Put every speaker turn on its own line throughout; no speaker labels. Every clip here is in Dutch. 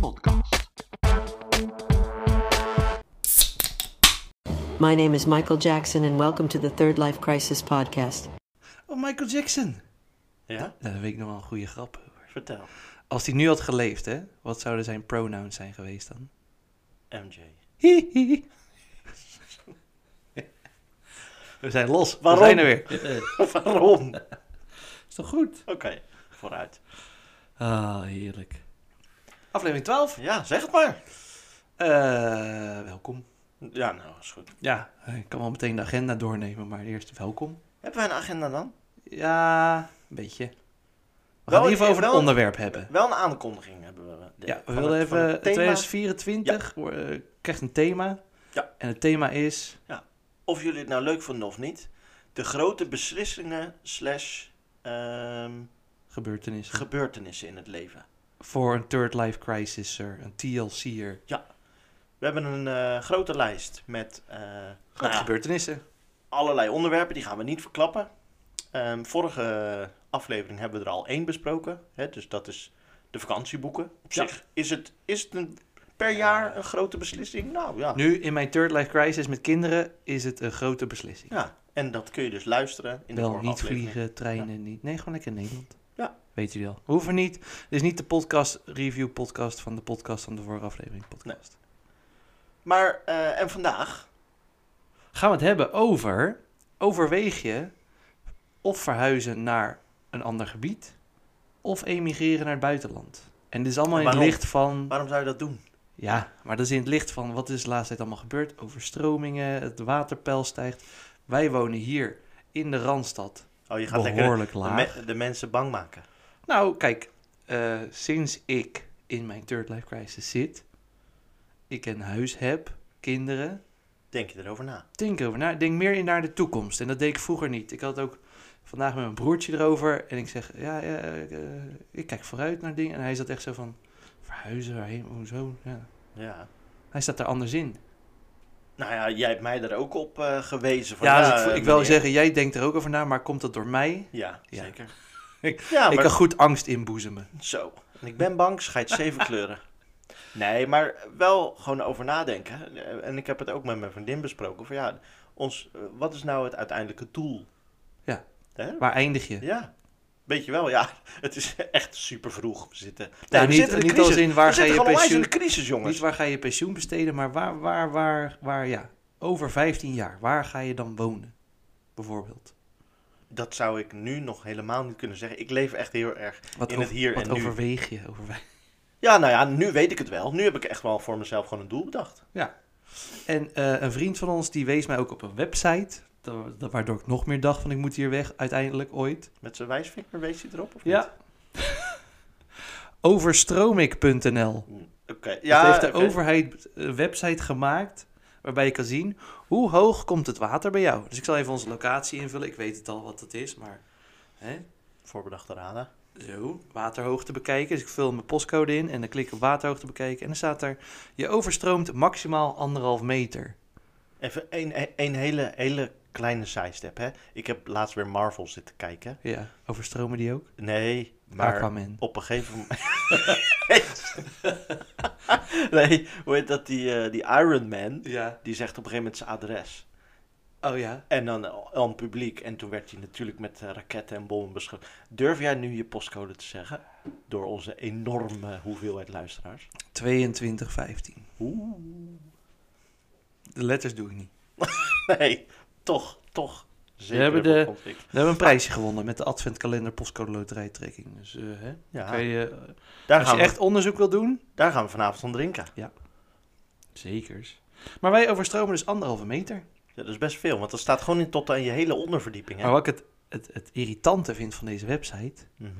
Podcast.
My name is Michael Jackson, and welcome to the Third Life Crisis Podcast.
Oh, Michael Jackson.
Ja,
Nou, dat weet ik nog wel een goede grap. hoor.
vertel.
Als hij nu had geleefd, hè, wat zouden zijn pronouns zijn geweest dan?
MJ.
Hihi. We zijn los.
Waarom? Eh,
We zijn er weer.
Waarom? Oké,
Is toch goed?
vooruit.
Ah, heerlijk. Aflevering 12.
Ja, zeg het maar.
Eh, welkom.
Ja, nou, is goed.
Ja, ik kan wel meteen de agenda doornemen, maar eerst welkom.
Hebben wij een agenda dan?
Ja, een beetje. We
Wel
gaan het in ieder geval
een-
over een
wel-
onderwerp hebben.
Wel een aankondiging hebben we. De-
Ja, we
van
wilden
het- van
even
het thema
2024 wo- eh, krijgt een thema.
Ja.
En het thema is
Of jullie het nou leuk vonden of niet. De grote beslissingen slash ehm,
gebeurtenissen.
gebeurtenissen in het leven.
voor een third life crisis er, een TLC'er.
We hebben een eh, grote lijst met eh, nou
Met
ja,
gebeurtenissen.
allerlei onderwerpen, die gaan we niet verklappen. Ehm, vorige aflevering hebben we er al één besproken. Hè? Dus dat is de vakantieboeken. Op
Ja.
zich is het, is het een, per jaar een grote beslissing. Nou ja.
Nu in mijn third life crisis met kinderen is het een grote beslissing.
ja. En dat kun je dus luisteren in de
Wel
vorige
niet
aflevering.
vliegen, treinen niet. Nee, gewoon lekker in Nederland.
Ja.
Weet u wel. We hoeven niet. Dit is niet de podcast review podcast van de podcast van de vorige aflevering podcast.
Maar, eh, en vandaag,
Gaan we het hebben over overweeg je of verhuizen naar een ander gebied of emigreren naar het buitenland. En dit is allemaal in het
Waarom?
licht van
waarom zou je dat doen?
Ja, maar dat is in het licht van wat is de laatste tijd allemaal gebeurd. Overstromingen, het waterpeil stijgt. Wij wonen hier in de Randstad
Oh, je gaat lekker
behoorlijk
de,
laag.
me- de mensen bang maken.
Nou, kijk, eh, sinds ik in mijn third life crisis zit, ik een huis heb, kinderen,
Denk je erover na?
denk over na. Denk meer in naar de toekomst. En dat deed ik vroeger niet. Ik had ook vandaag met mijn broertje erover en ik zeg, ja, ja, eh, eh, ik kijk vooruit naar dingen. En hij zat echt zo van, verhuizen, waarheen, hoezo? Ja.
Ja.
Hij staat er anders in.
Nou ja, jij hebt mij er ook op eh, gewezen. Van,
Ja, dus ik, ik wil
meneer.
zeggen, jij denkt er ook over na, maar komt dat door mij?
Ja,
Ja.
zeker.
Ik-
ja,
ik kan goed angst inboezemen.
Zo. En ik ben bang, scheidt zeven kleuren. Nee, maar wel gewoon over nadenken. Eh, En ik heb het ook met mijn vriendin besproken. Van ja, ons, eh, wat is nou het uiteindelijke doel?
Ja.
Hè?
Waar eindig je?
Ja. Weet je wel, ja. Het is echt super vroeg. We zitten. Nee,
Nou,
we
niet-
zitten in de
niet als
crisis.
in waar
we
ga je
zitten gewoon onwijs in
pensioen-
de crisis, jongens.
Niet waar ga je pensioen besteden, maar waar, waar, waar, waar, ja. Over 15 jaar, waar ga je dan wonen? Bijvoorbeeld.
Dat zou ik nu nog helemaal niet kunnen zeggen. Ik leef echt heel erg
Wat,
in
over-
het hier
wat
en nu.
overweeg je? Overwe-
Ja, nou ja, nu weet ik het wel. Nu heb ik echt wel voor mezelf gewoon een doel bedacht.
En eh, een vriend van ons, die wees mij ook op een website, da- da- waardoor ik nog meer dacht van ik moet hier weg, uiteindelijk ooit.
Met zijn wijsvinger wees hij erop? Of niet?
Overstromik.nl
Hm, Oké.
Ja,
Ja,
heeft de
oké.
overheid een website gemaakt waarbij je kan zien hoe hoog komt het water bij jou. Dus ik zal even onze locatie invullen. Ik weet het al wat het is, maar hè?
Voorbedachte raden.
zo, waterhoogte bekijken. Dus ik vul mijn postcode in en dan klik ik op waterhoogte bekijken. En dan staat er, je overstroomt maximaal anderhalf meter.
Even een, een hele, hele kleine sidestep, hè. Ik heb laatst weer Marvel zitten kijken.
Ja, overstromen die ook?
Nee, maar
Aquaman.
op een gegeven moment... nee, hoe heet dat? Die, eh, die Iron Man,
Ja.
die zegt op een gegeven moment zijn adres.
Oh ja.
En dan eh, aan het publiek. En toen werd hij natuurlijk met eh, raketten en bommen beschoten. Durf jij nu je postcode te zeggen? Door onze enorme hoeveelheid luisteraars.
2215. De letters doe ik niet.
Nee, toch, toch. Zeker
hebben
even
de-
vond ik.
We hebben een prijsje gewonnen met de Adventkalender Postcode Loterijtrekking. Dus eh, hè?
Ja.
Kan je,
Daar,
als je
gaan we,
echt onderzoek wil doen,
daar gaan we vanavond aan drinken.
Zekers. Maar wij overstromen dus anderhalve meter.
Ja, dat is best veel, want dat staat gewoon in, tot aan je hele onderverdieping. Hè?
Maar wat ik het, het, het irritante vind van deze website,
Mhm.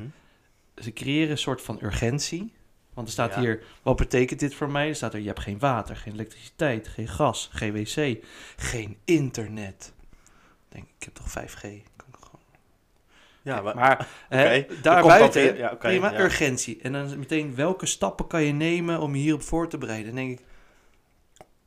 ze creëren een soort van urgentie. Want er staat
Ja.
hier, wat betekent dit voor mij? Er staat er, je hebt geen water, geen elektriciteit, geen gas, geen wc, geen internet. Ik denk, ik heb toch 5G? Kan ik gewoon...
Ja, maar,
Maar hè,
er komt wat
daarbuiten,
in. Ja, oké,
prima,
ja.
urgentie. En dan meteen, welke stappen kan je nemen om je hierop voor te bereiden? Dan denk ik,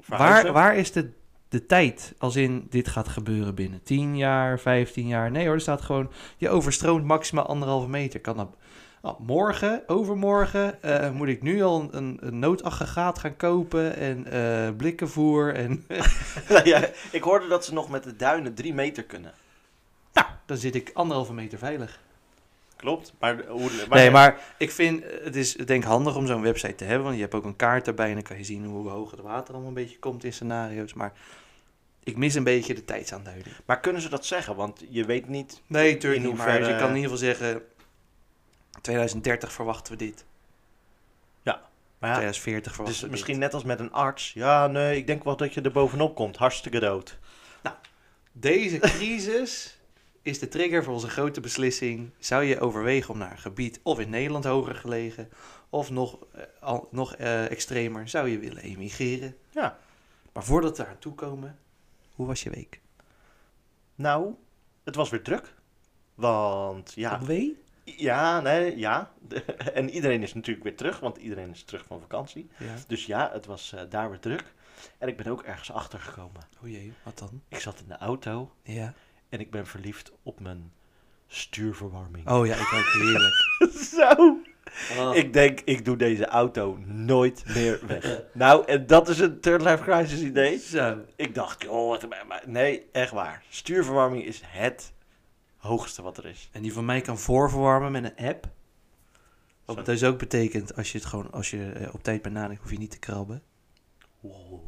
Waar,
verhuizen?
waar is de, de tijd als in dit gaat gebeuren binnen 10 jaar, 15 jaar? Nee hoor, er staat gewoon, je overstroomt maximaal anderhalve meter. Kan dat nou, morgen, overmorgen, eh, moet ik nu al een- een, een noodaggregaat gaan kopen en eh, blikkenvoer. En
Nou ja, ik hoorde dat ze nog met de duinen drie meter kunnen.
nou, dan zit ik anderhalve meter veilig.
Klopt, maar de- hoe...
nee, maar ik vind eh, het is denk ik handig om zo'n website te hebben. Want je hebt ook een kaart erbij en dan kan je zien hoe hoog het water allemaal een beetje komt in scenario's. Maar ik mis een beetje de tijdsaanduiding.
maar kunnen ze dat zeggen? Want je weet niet...
Nee,
tuurlijk
tuurlijk
niet,
niet.
maar
Maar je
eh,
kan in ieder geval zeggen, 2030 verwachten we dit.
Maar ja,
2040 verwachten
dus
we
misschien net als met een arts. Ja, nee, ik denk wel dat je er bovenop komt. Hartstikke dood.
dit. Deze crisis is de trigger voor onze grote beslissing. Zou je overwegen om naar een gebied of in Nederland hoger gelegen... of nog, eh, al, nog eh, extremer, zou je willen emigreren?
Ja.
Maar voordat we daar aan toe komen, hoe was je week?
Nou, het was weer druk. Want ja,
Op wee?
ja, nee, ja. En iedereen is natuurlijk weer terug, want iedereen is terug van vakantie.
Ja.
Dus ja, het was eh, daar weer druk. En ik ben ook ergens achtergekomen.
O Oh jee, wat dan?
Ik zat in de auto
Ja.
en ik ben verliefd op mijn stuurverwarming.
Oh ja, ik ook heerlijk.
Zo!
Oh.
Ik denk, ik doe deze auto nooit meer weg. nou, en dat is een Third Life Crisis idee.
Zo.
Ik dacht, joh, wat een- maar nee, echt waar. Stuurverwarming is het hoogste wat er is.
En die van mij kan voorverwarmen met een app.
Zo.
Wat dus ook betekent, als je het gewoon als je eh, op tijd bent nadenkt, hoef je niet te krabben.
Wow.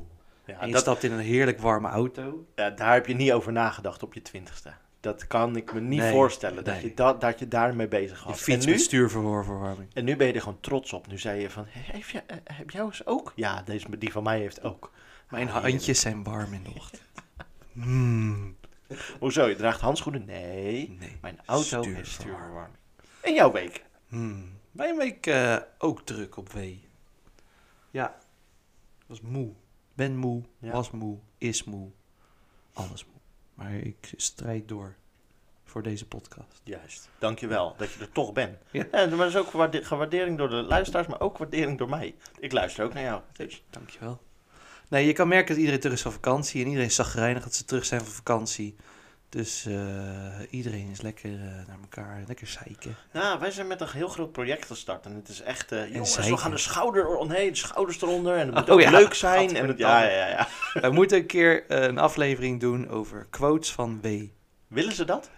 Ja,
en je
dat,
stapt in een heerlijk warme auto.
ja, daar heb je niet over nagedacht op je twintigste. Dat kan ik me niet
Nee,
voorstellen, dat,
nee.
je dat, dat je daarmee bezig
Je
was.
fiets
en,
met
nu,
stuurverwarming.
en nu ben je er gewoon trots op. Nu zei je van, "He- heeft je, eh, heb jij eens ook? Ja, deze, die van mij heeft ook.
Mijn
Ah,
handjes zijn warm in de ochtend. Mm,
heerlijk. Hoezo, je draagt handschoenen? Nee,
nee.
mijn auto
Stuurverwarming.
heeft stuurverwarming. En jouw week?
Mm. Mijn week eh, ook druk op W. Ja. Was moe. Ben moe.
Ja.
Was moe. Is moe. Alles moe. Maar ik strijd door voor deze podcast.
Juist. Dankjewel dat je er toch bent. Ja.
Ja.
maar dat is ook waarde- gewaardering door de luisteraars, maar ook waardering door mij. Ik luister ook naar jou. Dus
Dankjewel. Nee, je kan merken dat iedereen terug is van vakantie. En iedereen is zagrijnig dat ze terug zijn van vakantie. Dus eh, iedereen is lekker eh, naar elkaar. Lekker zeiken.
Nou, wij zijn met een heel groot project gestart. En het is echt, eh, jongens, we
zeker.
gaan de schouder omheen, de schouders eronder. En het moet
Oh,
ook
ja.
leuk zijn. En het, ja,
Gadverdamme.
ja, ja.
We moeten een keer eh, een aflevering doen over quotes van W.
Willen ze dat?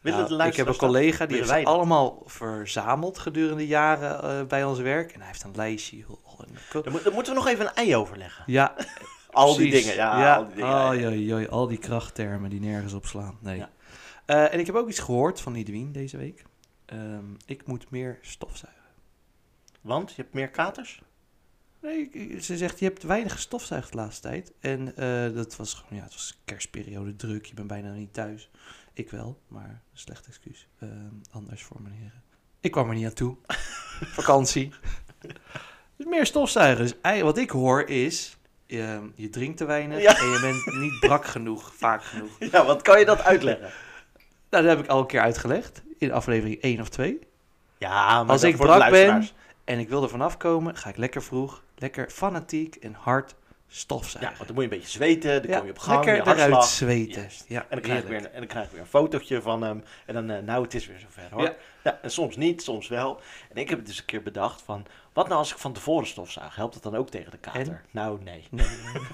Willen
Nou,
de
ik heb een
luisteraars dat?
collega die
Willen
heeft
wij
ze
dat?
allemaal verzameld gedurende jaren eh, bij ons werk. En hij heeft een lijstje. joh, al in de kop.
Dan, moet- dan moeten we nog even een ei overleggen.
Ja,
Al die
precies.
dingen, ja. Al die dingen, ja,
Oh,
ja.
joi, joi, al die krachttermen die nergens op slaan. Nee.
Ja.
Eh, en ik heb ook iets gehoord van Edwin deze week. Ehm, ik moet meer stofzuigen.
Want je hebt meer katers?
Nee, ik- ik- ze zegt, je hebt weinig gestofzuigd de laatste tijd. En eh, dat was gewoon, ja, het was kerstperiode druk. Je bent bijna niet thuis. Ik wel, maar een slecht excuus. Ehm, anders voor meneer. Ik kwam er niet aan toe. Vakantie. Dus meer stofzuigen. Dus ei- wat ik hoor is, ehm, je drinkt te weinig
Ja.
en je bent niet brak genoeg, vaak genoeg.
Ja, wat kan je dat uitleggen?
Nou, dat heb ik al een keer uitgelegd in aflevering 1 of 2.
Ja, maar
Als
dat
ik
voor de
brak ben-
luisteraars.
En ik wil er vanaf komen, ga ik lekker vroeg, lekker fanatiek en hard
Ja,
stofzuigen.
want dan moet je een beetje zweten, dan
Ja,
kom je op gang, je
lekker eruit
hartslag.
zweten.
Juist.
Ja,
En dan, krijg ik weer, een- en dan krijg ik weer een fotootje van hem. En dan, eh, nou, het is weer zover hoor. Ja.
Ja.
en soms niet, soms wel. En ik heb het dus een keer bedacht van... Wat nou als ik van tevoren stofzuig? Helpt dat dan ook tegen de kater?
En?
Nou, nee.
Nee.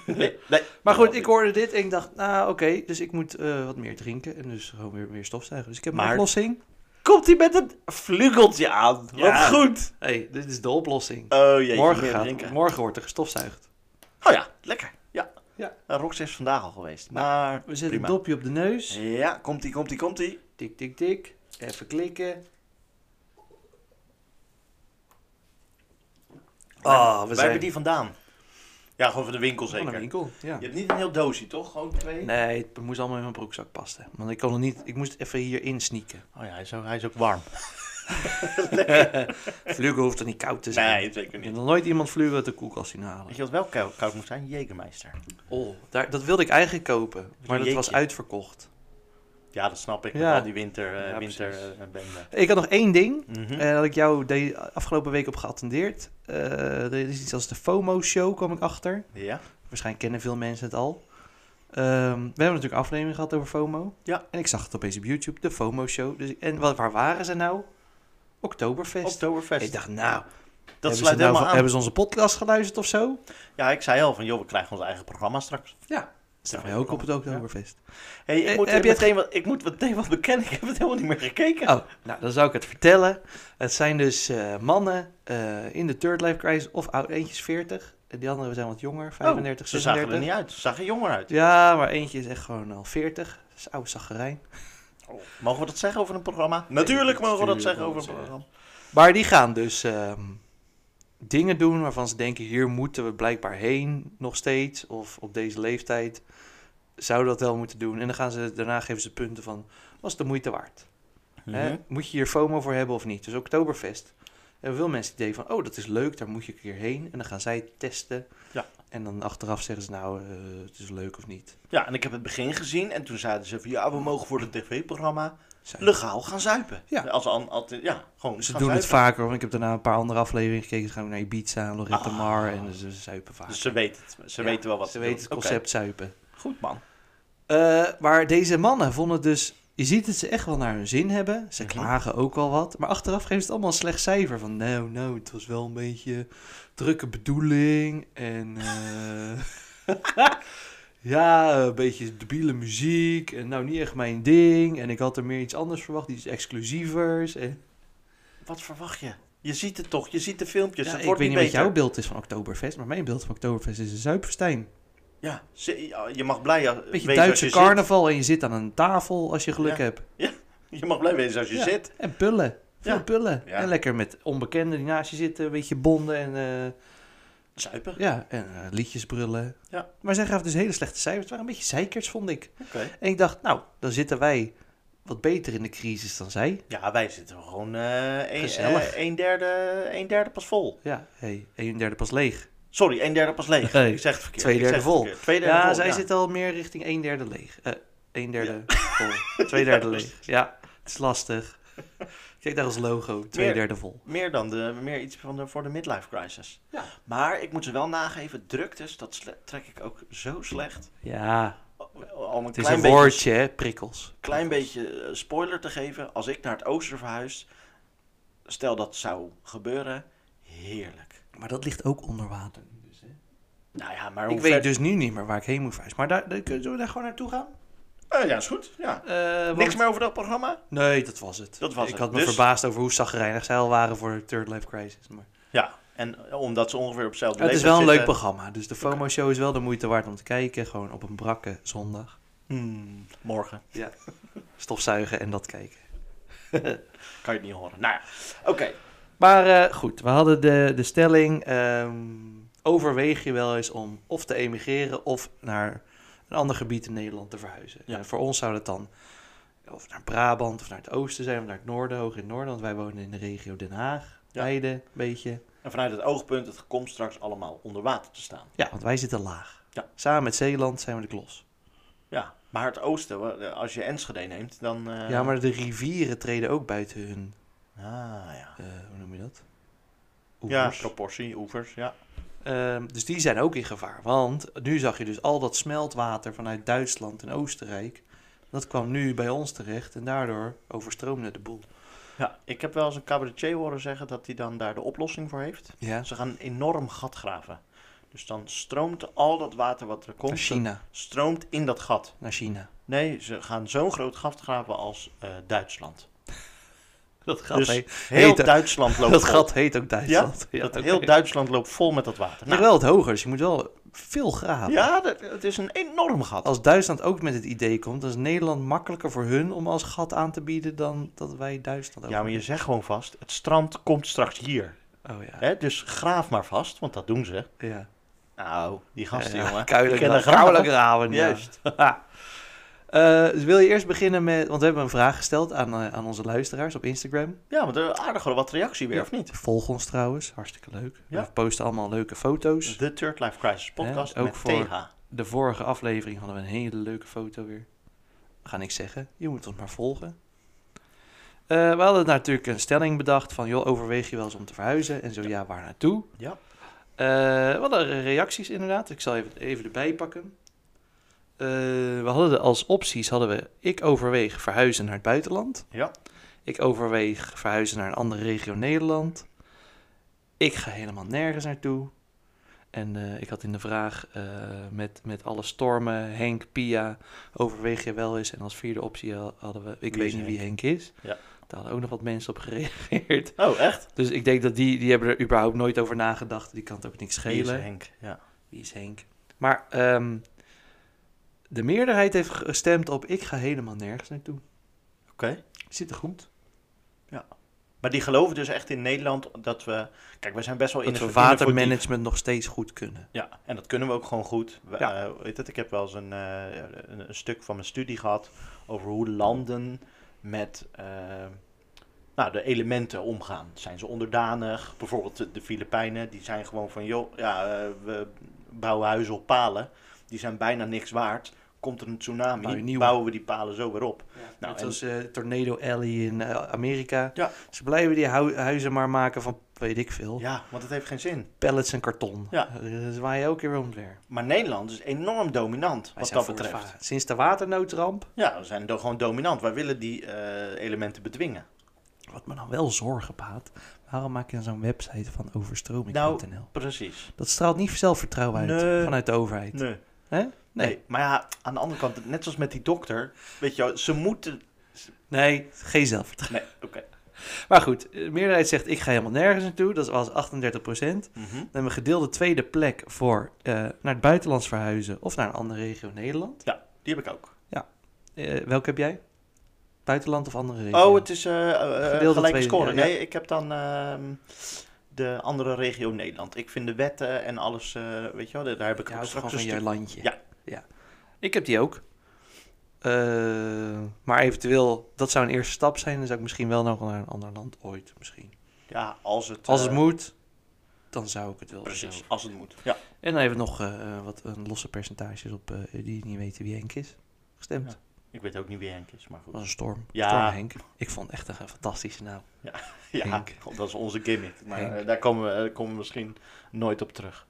nee, nee.
Maar goed, ik hoorde dit en ik dacht, nou oké, dus ik moet eh, wat meer drinken en dus gewoon weer meer stofzuigen. Dus ik heb
Maar-
een oplossing.
Komt hij met een vlugeltje aan?
Ja.
Wat goed!
hey, dit is de oplossing.
Oh jee,
morgen,
meer
gaat,
drinken.
morgen wordt er gestofzuigd.
Oh ja, lekker. Ja. ja.
Ja.
Rox is vandaag al geweest. Maar
We zetten
prima.
een dopje op de neus.
Ja, komt-ie, komt-ie, komt-ie.
Tik, tik, tik. Even klikken. Ah, we
Waar
zijn
hebben die vandaan? Ja, gewoon van de winkel zeker.
van een winkel. Ja.
Je hebt niet een heel doosje, toch? Gewoon twee?
Nee, het moest allemaal in mijn broekzak passen. Want ik kon het niet, ik moest even hierin sneaken.
Oh ja, hij is ook, hij is ook warm.
Vluggen hoeft er niet koud te zijn.
Nee, zeker
Ik heb
niet.
nog nooit iemand vluggen uit de koelkast zien halen.
Weet je wat wel koud, koud moet zijn? Jägermeister.
Oh, daar, dat wilde ik eigenlijk kopen. Maar dat
jeetje.
was uitverkocht.
Ja, dat snap ik. Met
Ja.
al die winter, eh,
Ja,
winter
precies.
eh, bende.
Ik had nog één ding.
Mhm.
eh, dat ik jou de afgelopen week op geattendeerd. Eh, er is iets als de FOMO-show, kwam ik achter.
ja.
Waarschijnlijk kennen veel mensen het al. Ehm, we hebben natuurlijk aflevering gehad over FOMO.
Ja.
En ik zag het opeens op YouTube, de FOMO-show. Dus, ik- en wat, waar waren ze nou? Oktoberfest.
Oktoberfest.
Ik dacht, nou,
dat
hebben, ze
sluit
nou,
helemaal aan.
hebben ze onze podcast geluisterd of zo?
Ja, ik zei al van, joh, we krijgen ons eigen programma straks.
Ja. Stel mij ook op het Oktoberfest.
Hey, ik,
Eh,
moet
heb
heb
je het
meteen wat, ik moet meteen wat bekennen, ik heb het helemaal niet meer gekeken.
Oh, nou, dan zou ik het vertellen. Het zijn dus eh, mannen eh, in de Third Life Crisis of oud, eentje is 40. En die anderen zijn wat jonger, 35,
Oh, ze zagen
36.
er niet uit, ze zagen jonger uit.
Ja, maar eentje is echt gewoon al 40. Dat is oude zaggerijn.
Mogen we dat zeggen over een programma? Natuurlijk mogen we dat zeggen over een programma.
Maar die gaan dus ehm, dingen doen waarvan ze denken: hier moeten we blijkbaar heen nog steeds. Of op deze leeftijd zouden we dat wel moeten doen. En dan gaan ze, daarna geven ze punten van: was het de moeite waard?
Mhm.
Hè? Moet je hier FOMO voor hebben of niet? Dus Oktoberfest. En veel mensen het idee van: oh, dat is leuk, daar moet je een keer heen. En dan gaan zij het testen.
Ja.
En dan achteraf zeggen ze: nou, eh, het is leuk of niet.
Ja, en ik heb het begin gezien en toen zeiden ze van, ja, we mogen voor het tv-programma
Zij-
legaal gaan zuipen.
Ja.
Als an, altijd, ja gewoon
Ze
gaan
doen het
zuipen.
vaker, want ik heb daarna een paar andere afleveringen gekeken. Ze gaan ook naar Ibiza, Lorette Mar en ze ze zuipen vaak.
Ah. Dus ze weten het, ze
Ja,
weten wel wat
Ze
doen.
weten het
Oké,
concept zuipen.
Goed man.
Eh, maar deze mannen vonden het dus... Je ziet dat ze echt wel naar hun zin hebben. Ze
Mhm.
klagen ook wel wat. Maar achteraf geven ze het allemaal een slecht cijfer. Van nou, nou, het was wel een beetje drukke bedoeling. En eh, ja, een beetje debiele muziek. En nou, niet echt mijn ding. En ik had er meer iets anders verwacht. Iets exclusievers. En,
Wat verwacht je? Je ziet het toch, je ziet de filmpjes,
Ja,
het
ik weet
wordt
niet
niet
wat
beter.
jouw beeld is van Oktoberfest. Maar mijn beeld van Oktoberfest is een zuipfestijn.
Ja, ze- ja, je mag blij als-
Beetje
wezen als
Duitse
je
carnaval. En je zit aan een tafel als je geluk
Ja.
hebt.
zit. Je mag blij wezen als je
Ja.
zit.
En pullen. Veel
Ja.
pullen.
Ja.
En lekker met onbekenden die naast je zitten. Een beetje bonden en, eh,
Zuipen.
ja, en eh, liedjes brullen.
Ja.
Maar zij gaven dus hele slechte cijfers. Het waren een beetje zeikers, vond ik.
Oké.
En ik dacht, nou, dan zitten wij wat beter in de crisis dan zij.
Ja, wij zitten gewoon eh een,
Gezellig.
eh, een, derde, een derde pas vol.
Ja, hey, een derde pas leeg.
Sorry, een derde pas leeg.
Nee,
ik zeg het verkeerd.
twee
ik zeg
derde
het
vol.
verkeerd. Twee derde
ja,
vol,
zij zitten al meer richting een derde leeg. Eh een derde vol. Twee
Ja,
derde
dat is-
leeg. Ja, het is lastig. Kijk daar als logo. Twee
Meer-
derde vol.
Meer dan de, meer iets van de, voor de midlife crisis.
Ja.
Maar ik moet ze wel nageven, druktes, dat sle- trek ik ook zo slecht.
Ja,
Al een
het is
klein
een
beetje
woordje, hè, prikkels.
klein beetje eh, spoiler te geven. Als ik naar het oosten verhuis, stel dat zou gebeuren, heerlijk.
Maar dat ligt ook onder water. dus,
Nou ja, maar hoe
Ik weet
ver-
dus nu niet meer waar ik heen moet verhuizen. Maar daar, daar, zullen we daar gewoon naartoe gaan?
Eh, ja, is goed. Ja. Niks meer over dat programma?
Nee, dat was het.
Eh, Dat was
ik
het.
had me
Dus-
verbaasd over hoe zagrijnig zij al waren voor de Third Life Crisis. Maar...
Ja, en eh, omdat ze ongeveer op hetzelfde
Het is
leeftijd
wel een leuk
zitten-
programma. Dus de FOMO-show is wel de moeite waard om te kijken. Gewoon op een brakke zondag.
Hmm, morgen.
Ja. Stofzuigen en dat kijken.
Kan je het niet horen. Nou ja, oké.
Maar eh, goed, we hadden de, de stelling... ehm, overweeg je wel eens om of te emigreren... of naar een ander gebied in Nederland te verhuizen.
Ja.
En voor ons zou dat dan... of naar Brabant, of naar het oosten zijn... of naar het noorden, hoog in het noorden. Want wij wonen in de regio Den Haag.
Ja.
Leiden, een beetje.
En vanuit het oogpunt, het komt straks allemaal onder water te staan.
Ja, want wij zitten laag.
Ja.
Samen met Zeeland zijn we de klos.
Ja, maar het oosten, wa- als je Enschede neemt, dan... eh,
Ja, maar de rivieren treden ook buiten hun...
Ah, ja.
eh, hoe noem je dat?
Ja,
Oevers.
proportie, oevers, ja.
Ehm, dus die zijn ook in gevaar. Want nu zag je dus al dat smeltwater vanuit Duitsland en Oostenrijk. Dat kwam nu bij ons terecht en daardoor overstroomde de boel.
Ja, ik heb wel eens een cabaretier horen zeggen dat hij dan daar de oplossing voor heeft.
Ja.
Ze gaan een enorm gat graven. Dus dan stroomt al dat water wat er
Naar
komt,
China.
stroomt in dat gat.
Naar China.
Nee, ze gaan zo'n groot gat graven als eh, Duitsland.
Dat gat,
Dus
heet,
Heel
heet-
Duitsland loopt
dat
vol.
gat heet ook Duitsland. Ja,
dat
oké.
Heel Duitsland loopt vol met dat water.
Maar
Nou,
wel het hoger, dus je moet wel veel graven.
ja, Oh, dat, het is een enorm gat.
Als Duitsland ook met het idee komt, dan is Nederland makkelijker voor hun om als gat aan te bieden dan dat wij Duitsland
Ja, maar je
overnemen.
zegt gewoon vast, het strand komt straks hier.
Oh ja.
Hè? Dus graaf maar vast, want dat doen ze.
ja.
Nou, die gasten,
Ja,
jongen.
Kuilen
die kennen
graven.
graven.
Kuilen graven, ja.
Juist.
Eh, dus wil je eerst beginnen met... Want we hebben een vraag gesteld aan, eh, aan onze luisteraars op Instagram.
Ja, want er aardig wel wat reactie weer, of niet?
Volg ons trouwens, hartstikke leuk.
Ja.
We posten allemaal leuke foto's.
De Third Life Crisis podcast
Hè, ook
met
voor-
TH.
De vorige aflevering hadden we een hele leuke foto weer. We gaan niks zeggen, je moet ons maar volgen. Eh, we hadden natuurlijk een stelling bedacht van... joh, overweeg je wel eens om te verhuizen? En zo ja, waar naartoe?
Ja.
Eh, we hadden reacties inderdaad. Ik zal even, even erbij pakken. Eh, we hadden de- als opties hadden we ik overweeg verhuizen naar het buitenland.
Ja.
Ik overweeg verhuizen naar een andere regio Nederland. Ik ga helemaal nergens naartoe. En eh, ik had in de vraag eh, met, met alle stormen, Henk, Pia, overweeg je wel eens. En als vierde optie ha- hadden we, ik
Wie
weet
is
niet wie Henk is.
Ja.
Daar hadden ook nog wat mensen op gereageerd.
Oh, echt?
Dus ik denk dat die, die hebben er überhaupt nooit over nagedacht. Die kan het ook niks
Wie is
schelen.
Henk, ja.
Wie is Henk? Maar ehm, de meerderheid heeft gestemd op ik ga helemaal nergens naartoe.
Oké.
Zit er goed.
Maar die geloven dus echt in Nederland dat we... Kijk, we zijn best wel in
Dat we
het verdienen voor die-
watermanagement nog steeds goed kunnen.
Ja, en dat kunnen we ook gewoon goed. We,
Ja.
eh, weet het, ik heb wel eens een, eh, een, een stuk van mijn studie gehad over hoe landen met eh, nou, de elementen omgaan. Zijn ze onderdanig? Bijvoorbeeld de- de Filipijnen, die zijn gewoon van, joh, ja, eh, we bouwen huizen op palen. Die zijn bijna niks waard. Komt er een
Bouw je
tsunami,
nieuwe.
bouwen we die palen zo weer op.
Nou, Net
en-
als eh, Tornado Alley in eh, Amerika.
Ja.
Ze blijven die hu- huizen maar maken van, weet ik veel,
Ja, want het heeft geen zin.
pallets en karton. Eh,
Ja.
Ze zwaaien elke keer om weer.
Maar Nederland is enorm dominant
Wij
wat
zijn
dat
voor het
betreft.
va- Sinds de waternoodramp,
Ja, we zijn do- gewoon dominant. Wij willen die eh, elementen bedwingen.
wat me dan wel zorgen baat, waarom maak je dan zo'n website van overstroming.nl?
Nou, Precies.
Dat straalt niet zelfvertrouwen uit
Nee.
vanuit de overheid.
Nee.
Hè?
Nee. maar ja, aan de andere kant, net zoals met die dokter, weet je, wel, ze moeten.
Nee, geen zelfvertrouwen.
Nee, oké.
Maar goed, de meerderheid zegt ik ga helemaal nergens naartoe. Dat was 38 procent.
Mhm.
Dan hebben we gedeelde tweede plek voor eh, naar het buitenlands verhuizen of naar een andere regio Nederland.
Die heb ik ook.
Eh, welke heb jij? Buitenland of andere regio?
Oh, het is eh eh, eh,
Gedeelde
gelijke
tweede,
score.
ja, ja.
Nee, ik heb dan ehm, de andere regio Nederland. Ik vind de wetten en alles, eh, weet je wel, daar- daar heb ik
Je
ook
houdt
straks
gewoon van
een
je landje.
stuk- Ja.
ja. Ik heb die ook. Eh, maar eventueel, dat zou een eerste stap zijn. Dan zou ik misschien wel nog naar een ander land ooit misschien.
Ja, als het,
Als het
eh,
moet, dan zou ik het wel
Precies,
zelf.
als het moet. Ja.
En dan even nog eh, eh, wat een losse percentages op eh, die niet weten wie Henk is. Gestemd.
Ja. Ik weet ook niet wie Henk is, maar
Dat was
goed.
een storm.
Ja.
Storm Henk. Ik vond echt een fantastische naam.
Ja,
Henk.
dat is onze gimmick. Maar
Henk.
eh, daar komen we, eh, komen we misschien nooit op terug.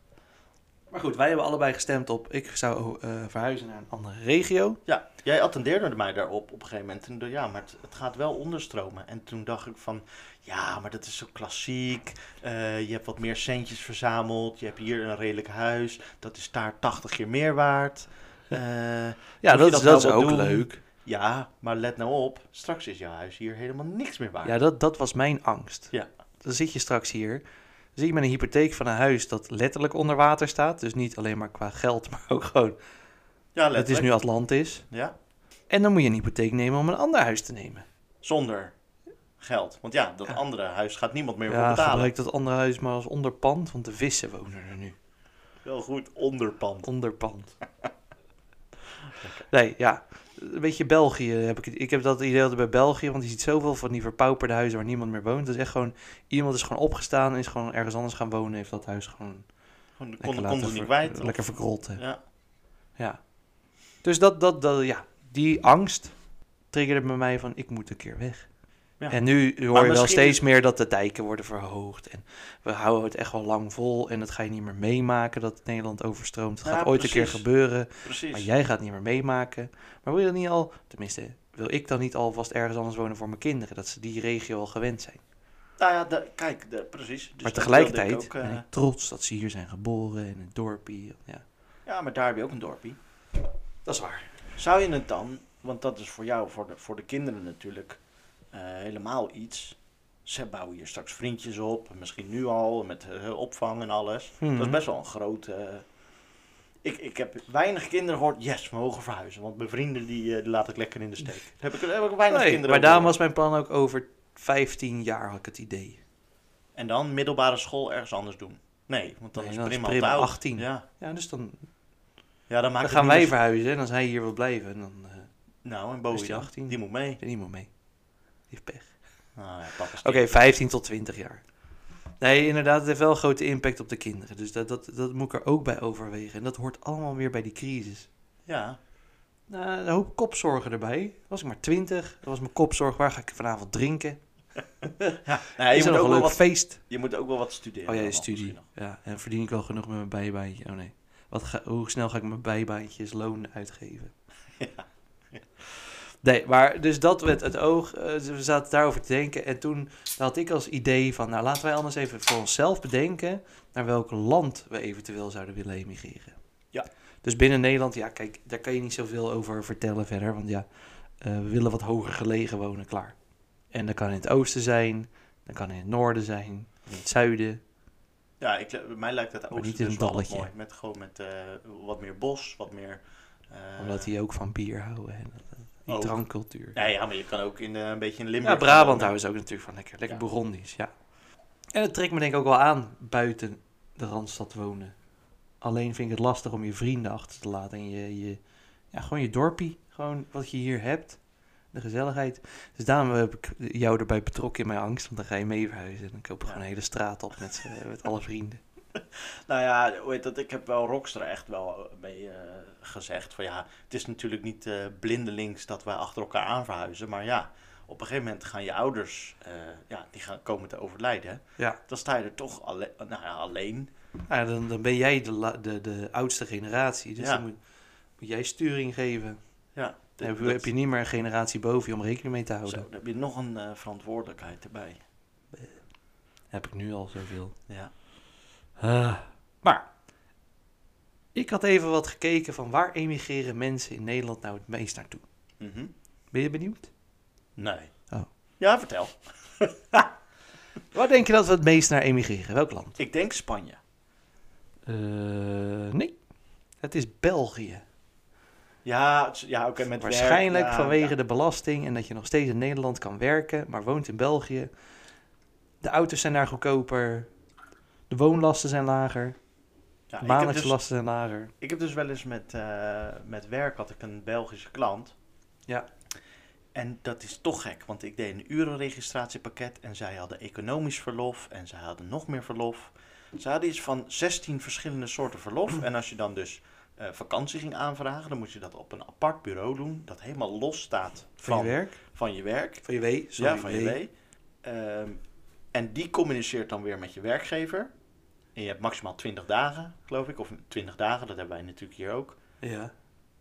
Maar goed, wij hebben allebei gestemd op ik zou eh, verhuizen naar een andere regio.
Ja, jij attendeerde mij daarop op een gegeven moment. En ja, maar het, het gaat wel onderstromen. En toen dacht ik van, ja, maar dat is zo klassiek. Eh, je hebt wat meer centjes verzameld. Je hebt hier een redelijk huis. Dat is daar 80 keer meer waard. Eh,
Ja, dat,
Moet je dat
is- dat is
nou wel
ook
doen?
leuk.
ja, maar let nou op. Straks is jouw huis hier helemaal niks meer waard.
Ja, dat, dat was mijn angst.
Ja.
Dan zit je straks hier. Dan zit je met een hypotheek van een huis dat letterlijk onder water staat. Dus niet alleen maar qua geld, maar ook gewoon.
Ja,
Het is nu Atlantis.
Ja,
En dan moet je een hypotheek nemen om een ander huis te nemen.
zonder geld. Want ja, dat
Ja.
andere huis gaat niemand meer voor
Ja,
betalen.
gebruik dat andere huis maar als onderpand, want de vissen wonen er nu.
Wel goed, onderpand.
onderpand. Nee, ja. Een beetje België heb ik. het- Ik heb dat idee altijd bij België, want je ziet zoveel van die verpauperde huizen waar niemand meer woont. Dat is echt gewoon iemand is gewoon opgestaan en is gewoon ergens anders gaan wonen, heeft dat huis gewoon
Gewoon, de
lekker
konden konden
ver-
niet kwijt.
lekker verkrold. hè.
Ja.
Ja. Dus dat, dat, dat, ja, die angst triggerde bij mij van ik moet een keer weg.
Ja.
En nu hoor
Maar
je wel
misschien
steeds meer dat de dijken worden verhoogd. En we houden het echt wel lang vol. En dat ga je niet meer meemaken dat Nederland overstroomt. Dat
Ja,
gaat ooit een keer
precies.
gebeuren.
Precies.
Maar jij gaat niet meer meemaken. Maar wil je dan niet al, tenminste, wil ik dan niet alvast ergens anders wonen voor mijn kinderen? Dat ze die regio al gewend zijn.
Nou ja, de- kijk, de- precies. Dus
maar
dat wilde ik
tegelijkertijd
ook, eh,
ben ik trots dat ze hier zijn geboren in een dorpje. Ja.
ja, maar daar heb je ook een dorpje.
Dat is waar.
Zou je het dan, want dat is voor jou, voor de, voor de kinderen natuurlijk, eh, helemaal iets. Ze bouwen hier straks vriendjes op, misschien nu al, met eh, opvang en alles.
Mhm.
Dat is best wel een groot... eh, ik, ik heb weinig kinderen gehoord, yes, we mogen verhuizen. Want mijn vrienden, die, eh, die laat ik lekker in de steek. Daar heb ik, daar heb ik weinig kinderen
maar
over
daarom
gehoord.
was mijn plan ook over 15 jaar had ik het idee.
En dan middelbare school ergens anders doen. Nee, want dan
Nee,
is
dan is
prima,
Prima
te oud.
18.
Ja,
Ja, dus dan,
ja dan, maakt
dan
het
gaan
niet
wij
meer-
verhuizen en als hij hier wil blijven, en dan eh
Nou, en
Is
Bowie
die
dan?
18?
Die moet mee.
zit er niemand mee. Die heeft pech.
Nou ja, papa is
Oké, 15 tot 20 jaar. Nee, inderdaad, het heeft wel een grote impact op de kinderen. Dus dat, dat, dat moet ik er ook bij overwegen. En dat hoort allemaal weer bij die crisis.
Ja,
Nou, een hoop kopzorgen erbij. Was ik maar 20, dan was mijn kopzorg. Waar ga ik vanavond drinken?
Nee, Nou, je,
Is er
moet
nog
ook
een
wel
leuk
wat,
feest?
je moet ook wel wat studeren.
oh ja, je
dan
studie.
misschien nog.
Ja, en verdien ik wel genoeg met mijn bijbaantje? Oh nee. Wat ga, hoe snel ga ik mijn bijbaantjes loon uitgeven? Nee, maar dus dat werd het oog. eh, we zaten daarover te denken. En toen had ik als idee van, nou laten wij anders even voor onszelf bedenken naar welk land we eventueel zouden willen emigreren.
Ja.
Dus binnen Nederland, ja, kijk, daar kan je niet zoveel over vertellen verder. Want ja, eh, we willen wat hoger gelegen wonen, klaar. En dat kan in het oosten zijn, dat kan in het noorden zijn, in het zuiden.
Ja, ik, mij lijkt het oosten
niet in
dus
een
wel wat
dalletje.
mooi. Met gewoon met eh, wat meer bos, wat meer... eh,
Omdat die ook van bier houden en die
ook.
drankcultuur.
Ja, ja, maar je kan ook in, eh, een beetje in Limburg...
Ja, Brabant
wonen.
houden ze ook natuurlijk van lekker. Lekker
Ja.
Burgondisch, ja. En het trekt me denk ik ook wel aan buiten de Randstad wonen. Alleen vind ik het lastig om je vrienden achter te laten. En je, je ja, gewoon je dorpie. Gewoon wat je hier hebt. De gezelligheid. Dus daarom heb ik jou erbij betrokken in mijn angst. Want dan ga je mee verhuizen. En dan koop ik
Ja.
gewoon een hele straat op met, eh, met alle vrienden.
Nou ja, hoe heet dat? Ik heb wel Rockster echt wel mee eh, gezegd. Van ja, het is natuurlijk niet eh, blindelings dat wij achter elkaar aan verhuizen. Maar ja, op een gegeven moment gaan je ouders, eh, ja, die gaan komen te overlijden.
Ja.
Dan sta je er toch alle nou ja, alleen.
Nou, ja, dan, dan ben jij de, la- de, de oudste generatie. Dus
Ja.
dan moet, moet jij sturing geven.
Ja,
Dan heb, je-
dat-
heb je niet meer een generatie boven je om rekening mee te
zo,
houden.
dan heb je nog een eh, verantwoordelijkheid erbij.
Heb ik nu al zoveel.
Ja.
Ah. Maar ik had even wat gekeken van waar emigreren mensen in Nederland nou het meest naartoe.
Mhm.
Ben je benieuwd?
Nee.
Oh.
Ja, vertel.
Waar denk je dat we het meest naar emigreren? Welk land?
Ik denk Spanje.
Eh, nee. Het is België.
Ja, het is- ja oké, met werk,
Waarschijnlijk
ja,
vanwege
ja.
de belasting en dat je nog steeds in Nederland kan werken, maar woont in België. De auto's zijn daar goedkoper. De woonlasten zijn lager.
Ja,
de
ik heb dus-
maandelijkse lasten zijn lager.
Ik heb dus wel eens met, eh, met werk had ik een Belgische klant.
Ja.
En dat is toch gek, want ik deed een urenregistratiepakket en zij hadden economisch verlof en zij hadden nog meer verlof. Ze hadden iets van 16 verschillende soorten verlof. En als je dan dus eh, vakantie ging aanvragen, dan moest je dat op een apart bureau doen dat helemaal los staat
Van,
van,
je werk?
van je werk.
Van je wee? sorry,
ja, van je
wee.
W. Ehm, en die communiceert dan weer met je werkgever. En je hebt maximaal 20 dagen, geloof ik. Of 20 dagen, dat hebben wij natuurlijk hier ook.
Ja.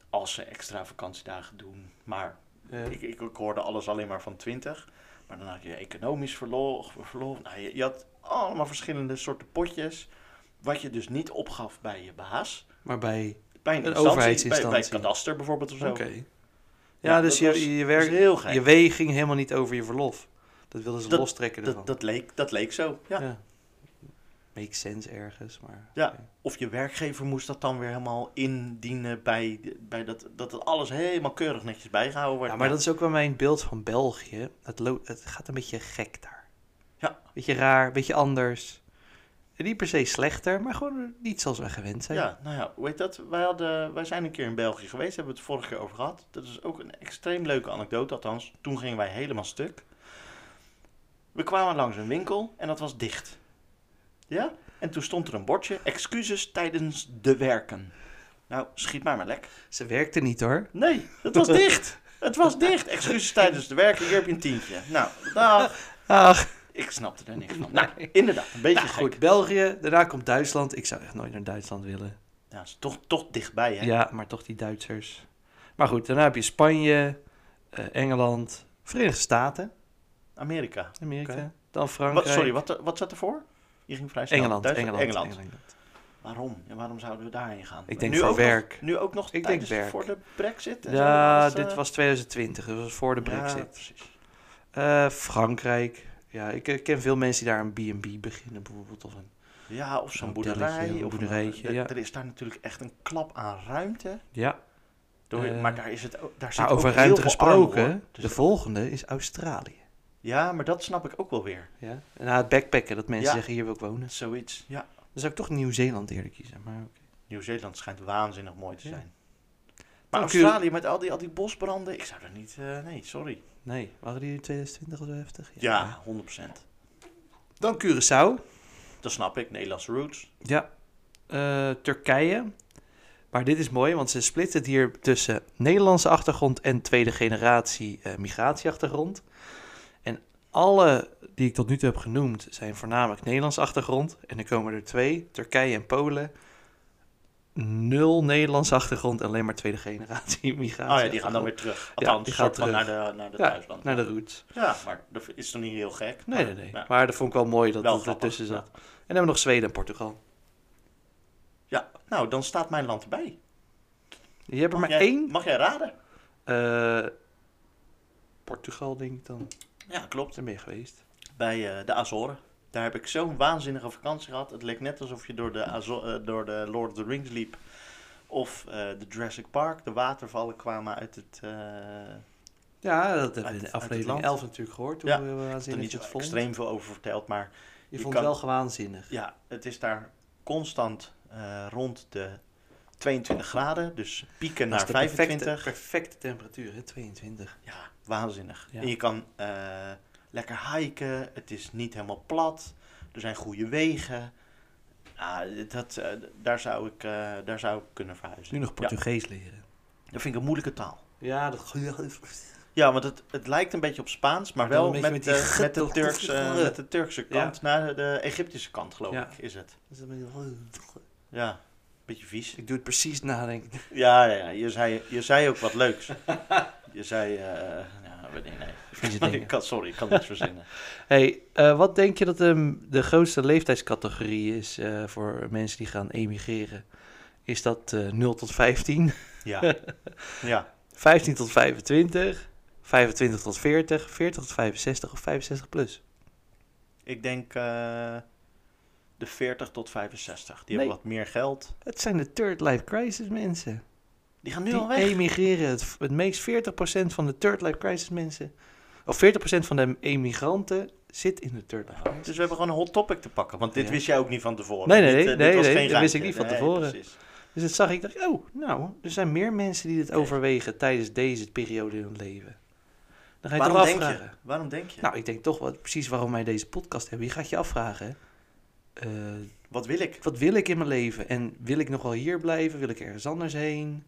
Als ze extra vakantiedagen doen. Maar
Ja.
ik, ik, ik hoorde alles alleen maar van 20. Maar dan had je economisch verlof. verlof. Nou, je, je had allemaal verschillende soorten potjes. Wat je dus niet opgaf bij je baas.
Maar bij
Bij
Een
een, instantie, Bij, bij het
overheidsinstantie.
kadaster bijvoorbeeld of zo.
Ja,
Ja,
dus
dat
je,
was-
je,
Dat is
werk,
heel gek.
je wee ging helemaal niet over je verlof. Dat wilden ze
Dat-
lostrekken ervan.
dat, dat, leek, dat leek zo, ja.
Makes sense ergens, maar...
Ja.
oké.
Of je werkgever moest dat dan weer helemaal indienen bij, bij dat, dat het alles helemaal keurig netjes bijgehouden wordt.
Ja, maar dat is ook wel mijn beeld van België. Het, lo- het gaat een beetje gek daar.
Ja.
Beetje raar, beetje anders. En niet per se slechter, maar gewoon niet zoals we gewend zijn.
Ja, nou ja, hoe heet dat? Wij, hadden, wij zijn een keer in België geweest, hebben we het vorige keer over gehad. Dat is ook een extreem leuke anekdote, althans. Toen gingen wij helemaal stuk. We kwamen langs een winkel en dat was dicht. Ja? En toen stond er een bordje, excuses tijdens de werken. Nou, schiet mij maar lek.
Ze werkte niet hoor.
Nee, het was dicht. Het was dicht. Excuses tijdens de werken, hier heb je een tientje. Nou, dag.
Ach,
Ik snapte er niks van. Nou, inderdaad, een beetje
nou,
goed.
goed. België, daarna komt Duitsland. Ik zou echt nooit naar Duitsland willen.
Ja, is toch, toch dichtbij, hè?
Ja, maar toch die Duitsers. Maar goed, daarna heb je Spanje, eh, Engeland, Verenigde Staten,
Amerika.
Amerika,
Oké.
dan Frankrijk.
Wat, sorry, wat, eh, wat zat ervoor? Je ging vrij snel.
Engeland,
Duitsland,
Engeland,
Engeland.
Engeland.
Waarom? En waarom zouden we daarheen gaan?
Ik denk voor
ook
werk.
Nog, nu ook nog
Ik denk
tijdens
werk.
voor de brexit? en
Ja,
zo, dat
dit
eh,
was 2020, dus dat was voor de
ja,
brexit.
precies.
Eh, Frankrijk. Ja, ik eh, ken veel mensen die daar een B&B beginnen bijvoorbeeld. Of een...
Ja, of zo'n
Een
boerderij.
hotelletje, een
of
boerderijtje,
er-
ja.
Er is daar natuurlijk echt een klap aan ruimte.
Ja,
Door,
Eh,
maar daar is het ook, daar zit
maar
ook
over
heel
ruimte
veel armoede,
gesproken,
hoor. Dus-
de volgende is Australië.
ja, maar dat snap ik ook wel weer.
Ja? En na het backpacken, dat mensen
Ja.
zeggen hier wil ik wonen.
Zoiets, ja.
Dan zou ik toch Nieuw-Zeeland eerder kiezen. Maar oké.
Nieuw-Zeeland schijnt waanzinnig mooi te
Ja.
zijn. Maar
Dan kun je-
Australië met al die, al die bosbranden, ik zou daar niet... eh, nee, sorry.
Nee, waren die in 2020 al zo heftig?
Ja, 100%.
Dan Curaçao.
Dat snap ik, Nederlandse roots.
Ja, eh, Turkije. Maar dit is mooi, want ze splitsen het hier tussen Nederlandse achtergrond en tweede generatie eh, migratieachtergrond. En alle die ik tot nu toe heb genoemd zijn voornamelijk Nederlandse achtergrond. En er komen er twee, Turkije en Polen. nul Nederlandse achtergrond en alleen maar tweede generatie migranten.
Oh ja, die gaan dan weer terug. Althans,
die
die
gaan
gaat van
terug.
naar de, naar de
Ja,
thuisland.
naar de roots.
Ja, maar dat is toch niet heel gek?
Nee, nee, nee.
Ja.
Maar dat vond ik wel mooi dat
Wel
dat
grappig,
ertussen
ja.
zat. En dan hebben we nog Zweden en Portugal.
Ja, nou, dan staat mijn land erbij.
Je hebt er maar
Mag Oh, jij-
één.
Mag jij raden?
eh, Portugal, denk ik dan.
Ja, klopt.
Daar ben je geweest.
Bij eh, de Azoren. Daar heb ik zo'n waanzinnige vakantie gehad. Het leek net alsof je door de, Azo- eh, door de Lord of the Rings liep. Of eh, de Jurassic Park. De watervallen kwamen uit het... eh,
Ja, dat hebben
Uit-
we in
uit het
aflevering
land.
11 natuurlijk gehoord. Hoe eh,
Ja,
we
Ik heb er
waanzinnig
niet
je
zo
het vond.
extreem veel over verteld, maar
Je
Je
vond
kan-
het wel gewaanzinnig.
ja, het is daar constant eh, rond de 22 graden. Dus
Dat
pieken naar
is de perfecte-
25.
Perfecte temperatuur, hè? 22.
Ja, waanzinnig.
Ja.
En je kan eh, lekker hiken. Het is niet helemaal plat. Er zijn goede wegen. Ja, dat, eh, daar, zou ik, eh, daar zou ik kunnen verhuizen.
Nu nog
Ja,
Portugees leren.
dat vind ik een moeilijke taal.
Ja, dat
Ja, want het, het lijkt een beetje op Spaans, maar
Maar dan
wel
een
met,
beetje met eh, die
de,
getel-
met, de Turkse, met de Turkse
Ja.
kant naar de Egyptische kant, geloof
Ja.
ik, is het.
beetje...
Ja, beetje vies.
Ik doe het precies nadenken.
Ja, ja, ja. Je, zei, je zei ook wat leuks. Je zei, eh ja, weet ik, nee.
Vieze
Ik kan, sorry, ik kan niks verzinnen.
Hey, eh, wat denk je dat de, de grootste leeftijdscategorie is eh, voor mensen die gaan emigreren? Is dat eh 0 tot 15,
Ja, ja.
15 tot 25, 25 tot 40, 40 tot 65 of 65 plus?
ik denk eh, de 40 tot 65. Die
Nee.
hebben wat meer geld.
Het zijn de third life crisis mensen.
Die gaan nu
Die
al weg.
emigreren. Het, het meest 40% van de third life crisis mensen, of 40% van de emigranten zit in de third life crisis.
Dus we hebben gewoon een hot topic te pakken. Want dit
Ja.
wist jij ook niet van tevoren.
Nee, nee,
Dit, eh,
nee,
dit
nee,
was
nee,
geen
dat wist
randje.
ik niet van
Nee,
tevoren.
precies.
Dus dat zag ik, dacht ik, oh, nou, er zijn meer mensen die dit overwegen tijdens deze periode in hun leven. Dan ga je
Waarom
toch
denk
afvragen.
je? Waarom denk je?
Nou, ik denk toch wat, precies waarom wij deze podcast hebben. Je gaat je afvragen, eh,
Wat wil ik?
wat wil ik in mijn leven? En wil ik nog wel hier blijven? Wil ik ergens anders heen?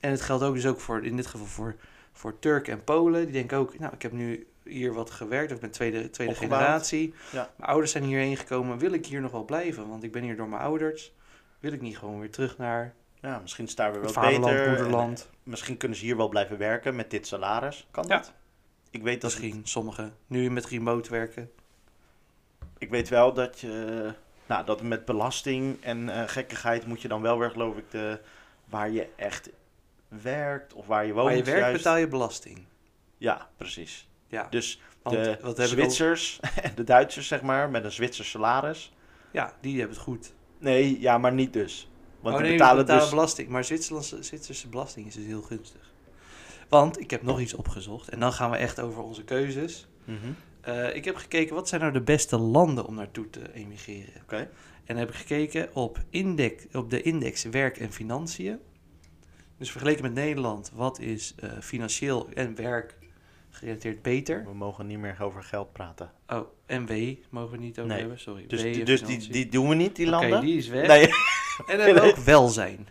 En het geldt ook dus ook voor, in dit geval voor, voor Turken en Polen. Die denken ook, nou, ik heb nu hier wat gewerkt. Of ik ben tweede, tweede
Opgebouwd.
generatie.
Ja.
Mijn ouders zijn hierheen gekomen. Wil ik hier nog wel blijven? Want ik ben hier door mijn ouders. Wil ik niet gewoon weer terug naar
Ja, misschien staan we
het
wel
vaderland,
beter.
moederland?
Misschien kunnen ze hier wel blijven werken met dit salaris. Kan
Ja.
dat? Ik weet, dat
Misschien sommigen. Nu met remote werken.
ik weet wel dat je... Nou, dat met belasting en eh, gekkigheid moet je dan wel weer, geloof ik, de, waar je echt werkt of waar je woont.
Waar je werkt
juist.
betaal je belasting.
Ja, precies.
Ja,
Dus
want
de
wat heb ik
Zwitsers en de Duitsers, zeg maar, met een Zwitsers salaris.
al- Ja, die hebben het goed.
Nee, ja, maar niet dus. Want
Oh,
die
nee,
betalen dus...
belasting. Maar Zwitserlandse, Zwitserse belasting is dus heel gunstig. Want ik heb nog iets opgezocht. En dan gaan we echt over onze keuzes.
Mhm.
Eh, ik heb gekeken, wat zijn nou de beste landen om naartoe te emigreren?
Oké.
En heb ik gekeken op, index, op de index werk en financiën. Dus vergeleken met Nederland, wat is eh, financieel en werk gerelateerd beter?
We mogen niet meer over geld praten.
Oh, en W mogen we niet over
Nee.
hebben, sorry.
Dus,
W en
dus die,
financiën.
die doen we niet, die
Oké,
landen?
die is weg.
Nee,
En dan hebben we
Nee.
ook welzijn.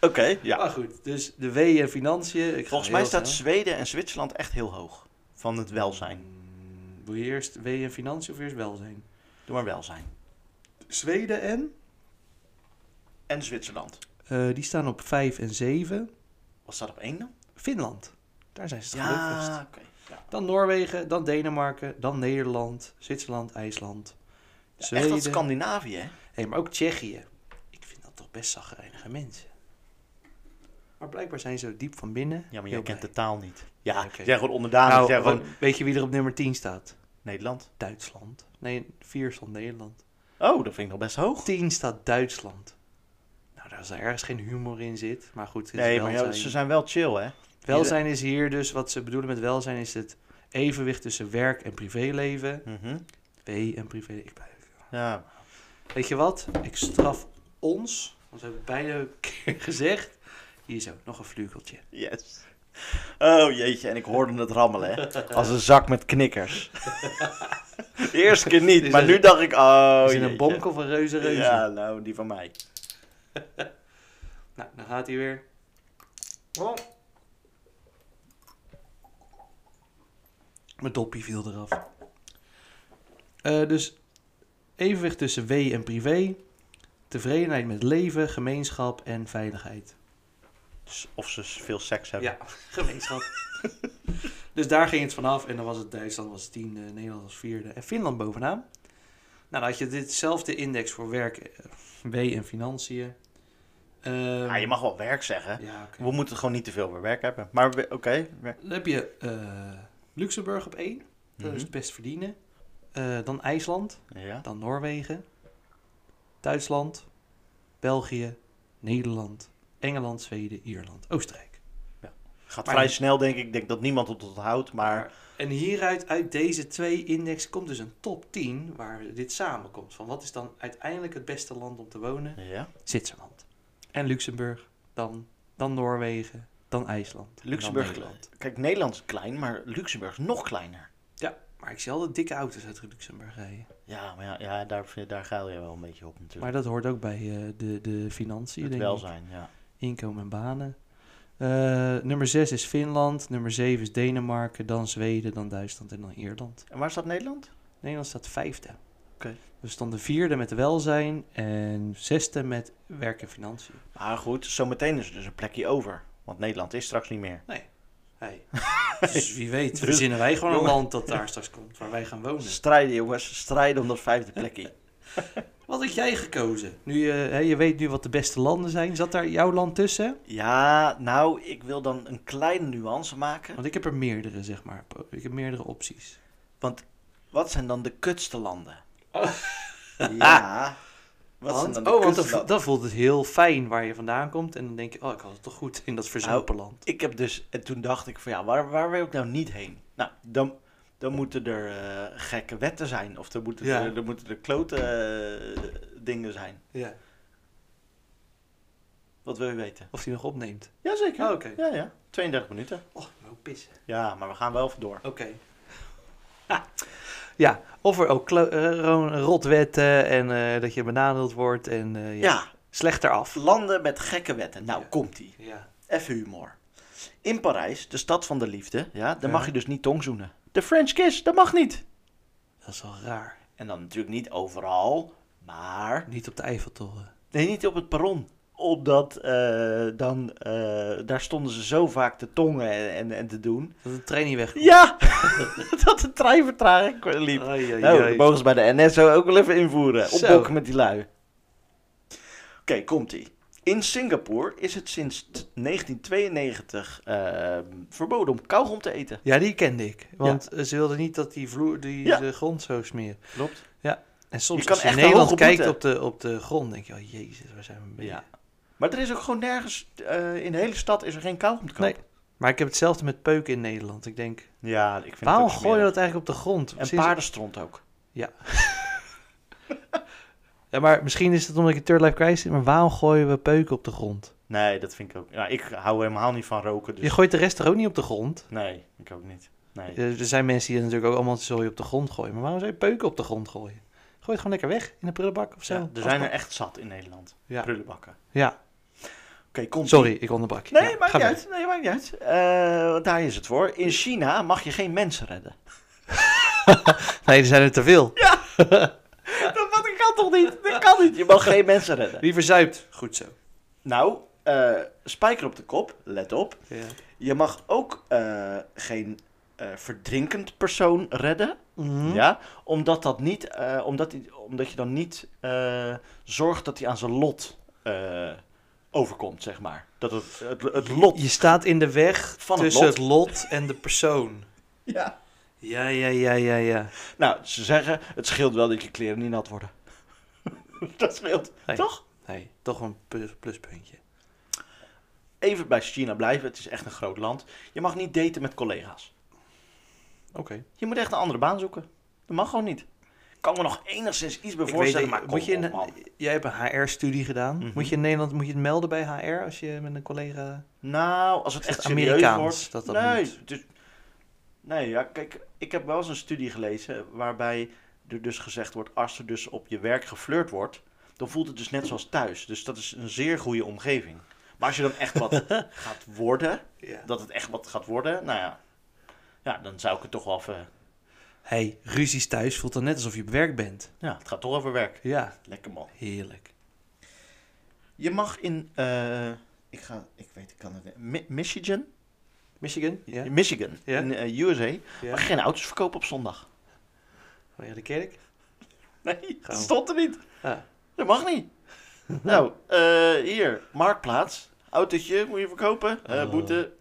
oké,
Ja.
ja.
Maar goed, dus de W en financiën. Ik ga
Volgens
heel
mij staat
snel.
Zweden en Zwitserland echt heel hoog van het welzijn.
Mm, Wil je eerst W en financiën of eerst welzijn?
Doe maar welzijn.
Zweden en?
En Zwitserland.
Eh, die staan op 5 en 7.
Wat staat op één dan?
Finland. Daar zijn ze het
Ja,
gelukkigst.
oké. Ja.
Dan Noorwegen, dan Denemarken, dan Nederland, Zwitserland, IJsland,
Ja, echt
Zweden.
dat Scandinavië, hè?
Hé, maar ook Tsjechië. Ik vind dat toch best zagrijnige mensen. Maar blijkbaar zijn ze diep van binnen.
Ja, maar
heel
jij kent
blij.
de taal niet. Ja,
Oké.
jij zijn gewoon onderdanig.
Nou,
jij gewoon
gewoon, weet je wie er op nummer 10 staat?
Nederland.
Duitsland. Nee, 4 stond Nederland.
Oh, dat vind ik nog best hoog.
10 staat Duitsland. Nou, daar is ergens geen humor in zit. Maar goed, het is
Nee, maar
welzijn.
ja, ze zijn wel chill, hè?
welzijn is hier dus, wat ze bedoelen met welzijn is het evenwicht tussen werk en privéleven.
Mhm.
W en privé. Ik blijf.
Ja,
Weet je wat? Ik straf ons, want we hebben beide keer gezegd. Hier zo, nog een vlugeltje.
yes. Oh jeetje, en ik hoorde het rammelen, hè? Als een zak met knikkers. De eerste keer niet,
Is
maar
er-
nu dacht ik, oh
is in
jeetje.
een bonk of een reuze reuze.
Ja, nou, die van mij.
Nou, dan gaat hij weer.
Oh.
Mijn dopje viel eraf. Eh, dus evenwicht tussen W en privé. Tevredenheid met leven, gemeenschap en veiligheid.
Dus of ze veel seks hebben.
Ja, gemeenschap. dus daar ging het vanaf. En dan was het Duitsland was tiende, Nederland was vierde en Finland bovenaan. Nou, dan had je ditzelfde index voor werk, eh, W en financiën. Ehm,
Ah, je mag wel werk zeggen.
Ja, oké.
We moeten gewoon niet te veel werk hebben. Maar we- oké. werk-
Dan heb je eh, Luxemburg op één. Dat is het
Mhm.
best verdienen. Eh, dan IJsland.
Ja.
Dan Noorwegen. Duitsland. België. Nederland. Engeland, Zweden, Ierland, Oostenrijk.
Gaat
Maar-
vrij snel, denk ik. Ik denk dat niemand het onthoudt. Maar
En hieruit, uit deze twee index, komt dus een top 10 waar dit samenkomt. Van wat is dan uiteindelijk het beste land om te wonen?
ja.
Zwitserland. En Luxemburg. Dan, dan Noorwegen. Dan IJsland. en dan
Luxemburg-
Nederland.
Kijk, Nederland is klein, maar Luxemburg is nog kleiner.
Ja, maar ik zie altijd dikke auto's uit Luxemburg rijden.
Ja, maar ja, ja daar, vind- daar ga je wel een beetje op natuurlijk.
Maar dat hoort ook bij eh, de, de financiën,
het
denk ik.
welzijn, ja.
Inkomen en banen. Eh, nummer 6 is Finland. Nummer 7 is Denemarken. Dan Zweden, dan Duitsland en dan Ierland.
En waar staat Nederland?
Nederland staat vijfde.
Oké.
We stonden vierde met welzijn en zesde met werk en financiën.
Maar Ah, goed, zometeen is er dus een plekje over. Want Nederland is straks niet meer.
Hey. Dus wie weet,
Dus-
verzinnen wij gewoon
jongen.
een land dat daar straks komt, waar wij gaan
Oh,
wonen.
Strijden, jongens. Strijden om dat vijfde plekje.
Wat had jij gekozen? Nu, eh, hè, je weet nu wat de beste landen zijn. Zat daar jouw land tussen?
Ja, nou, ik wil dan een kleine nuance maken.
Want ik heb er meerdere, zeg maar. Ik heb meerdere opties.
Want wat zijn dan de kutste landen?
Oh.
Ja. Wat zijn
Want,
dan
oh,
de
want
kutste
dan, vo-
landen?
dan voelt het heel fijn waar je vandaan komt. En dan denk je, oh, ik had het toch goed in dat verzopen land.
Ik heb dus, en toen dacht ik van ja, waar, waar wil ik nou niet heen? Nou, dan, dan moeten er eh, gekke wetten zijn. Of er moeten,
Ja.
er, er moeten er klote eh, dingen zijn.
Ja.
Wat wil je weten?
Of die nog opneemt.
Jazeker.
Oh,
zeker.
oké.
Ja, ja. 32 minuten.
Oh, ik moet ook pissen.
Ja, maar we gaan wel even door.
Oké. Ah. Ja, of er ook klo- eh, gewoon rotwetten en eh, dat je benadeeld wordt en eh, ja,
Ja,
slechter af.
landen met gekke wetten. Nou,
Ja.
komt-ie.
Ja.
Even humor. In Parijs, de stad van de liefde, ja, daar
Ja.
mag je dus niet tongzoenen. De French kiss, dat mag niet.
Dat is wel raar.
En dan natuurlijk niet overal, maar...
Niet op de Eiffeltoren.
Nee, niet op het perron. Omdat eh, dan, eh, daar stonden ze zo vaak te tongen en, en, en te doen.
Dat de trein niet weg.
Ja, dat de trein vertraging liep.
Ai, ai,
Nou,
ai.
dat mogen ze bij de NS zo ook wel even invoeren.
Zo.
Opbokken met die lui. Oké, komt-ie. In Singapore is het sinds t- 1992 eh, verboden om kauwgom te eten.
Ja, die kende ik. Want eh, ze wilden niet dat die vloer, die
Ja.
de grond zo smeert.
Klopt.
En soms
Je kan
als je in
echt een
Nederland
hoge boete.
kijkt op de, op de grond, denk je, oh jezus, waar zijn we mee?
Ja. Maar er is ook gewoon nergens, eh, in de hele stad is er geen kauwgom te
Nee.
kopen.
Maar ik heb hetzelfde met peuken in Nederland. Ik denk,
Ja, ik vind
waarom
het ook
gooi je
smerig.
dat eigenlijk op de grond?
En
Sinds-
paardenstront ook.
Ja, maar misschien is het omdat ik in Third Life Crisis zit, maar waarom gooien we peuken op de grond?
Nee, dat vind ik ook. Ja, ik hou helemaal niet van roken, dus
Je gooit de rest er ook niet op de grond. Eh,
nee, ik ook niet. Nee.
Er er zijn mensen die natuurlijk ook allemaal zooi op de grond gooien. Maar waarom zou je peuken op de grond gooien? Gooi het gewoon lekker weg in een prullenbak of zo.
Ja, er zijn er echt zat in Nederland.
Ja.
Prullenbakken. Oké,
Ja,
komt
sorry, ik onderbrak je.
Nee,
Ja,
maakt
ga
niet
verder.
uit. Nee, maakt niet uit. Eh, want daar is het voor. In China mag je geen mensen redden.
Nee, er zijn er te veel.
dat, dat kan toch niet? Dat kan niet. Je mag geen mensen redden.
Wie verzuipt? Goed zo.
Nou, eh, spijker op de kop. Let op.
Ja.
Je mag ook eh, geen eh, verdrinkend persoon redden.
Mhm.
Ja? Omdat, dat niet, eh, omdat, die- omdat je dan niet eh, zorgt dat hij aan zijn lot eh, overkomt, zeg maar. Dat het, het, het lot...
Je staat in de weg
Van het
tussen
lot.
het lot en de persoon.
Ja.
Ja, ja, ja, ja, ja.
Nou, ze zeggen, het scheelt wel dat je kleren niet nat worden. dat scheelt,
Hey.
toch?
Nee, toch een plus- pluspuntje.
Even bij China blijven, het is echt een groot land. Je mag niet daten met collega's.
Oké.
Je moet echt een andere baan zoeken. Dat mag gewoon niet. Kan me nog enigszins iets bij
Ik weet,
voorstellen,
dat-
maar kom
moet je in,
op, man.
jij hebt een HR-studie gedaan.
Mhm.
Moet je in Nederland moet je het melden bij HR als je met een collega.
Nou, als het
Is het
echt serieus
Amerikaans
wordt...
dat dat
nee,
moet?
dus- nee ja, kijk, ik heb wel eens een studie gelezen waarbij er dus gezegd wordt... als er dus op je werk geflirt wordt, dan voelt het dus net zoals thuis. Dus dat is een zeer goede omgeving. Maar als je dan echt wat gaat worden,
Ja.
dat het echt wat gaat worden, nou ja... Ja, dan zou ik het toch wel even...
Hey, ruzies thuis voelt dan net alsof je op werk bent.
Ja, het gaat toch over werk.
Ja,
Lekker man.
heerlijk.
Je mag in, eh, ik ga, ik weet, ik kan het, Mi- Michigan,
Michigan? Ja.
Michigan,
Ja.
in eh, USA,
ja.
mag geen auto's verkopen op zondag.
Vanwege Oh, de kerk?
Nee, dat
Gewoon.
stond er niet.
Ah.
Dat mag niet. nou, eh, hier, marktplaats, autootje, moet je verkopen, Eh,
Oh.
boete.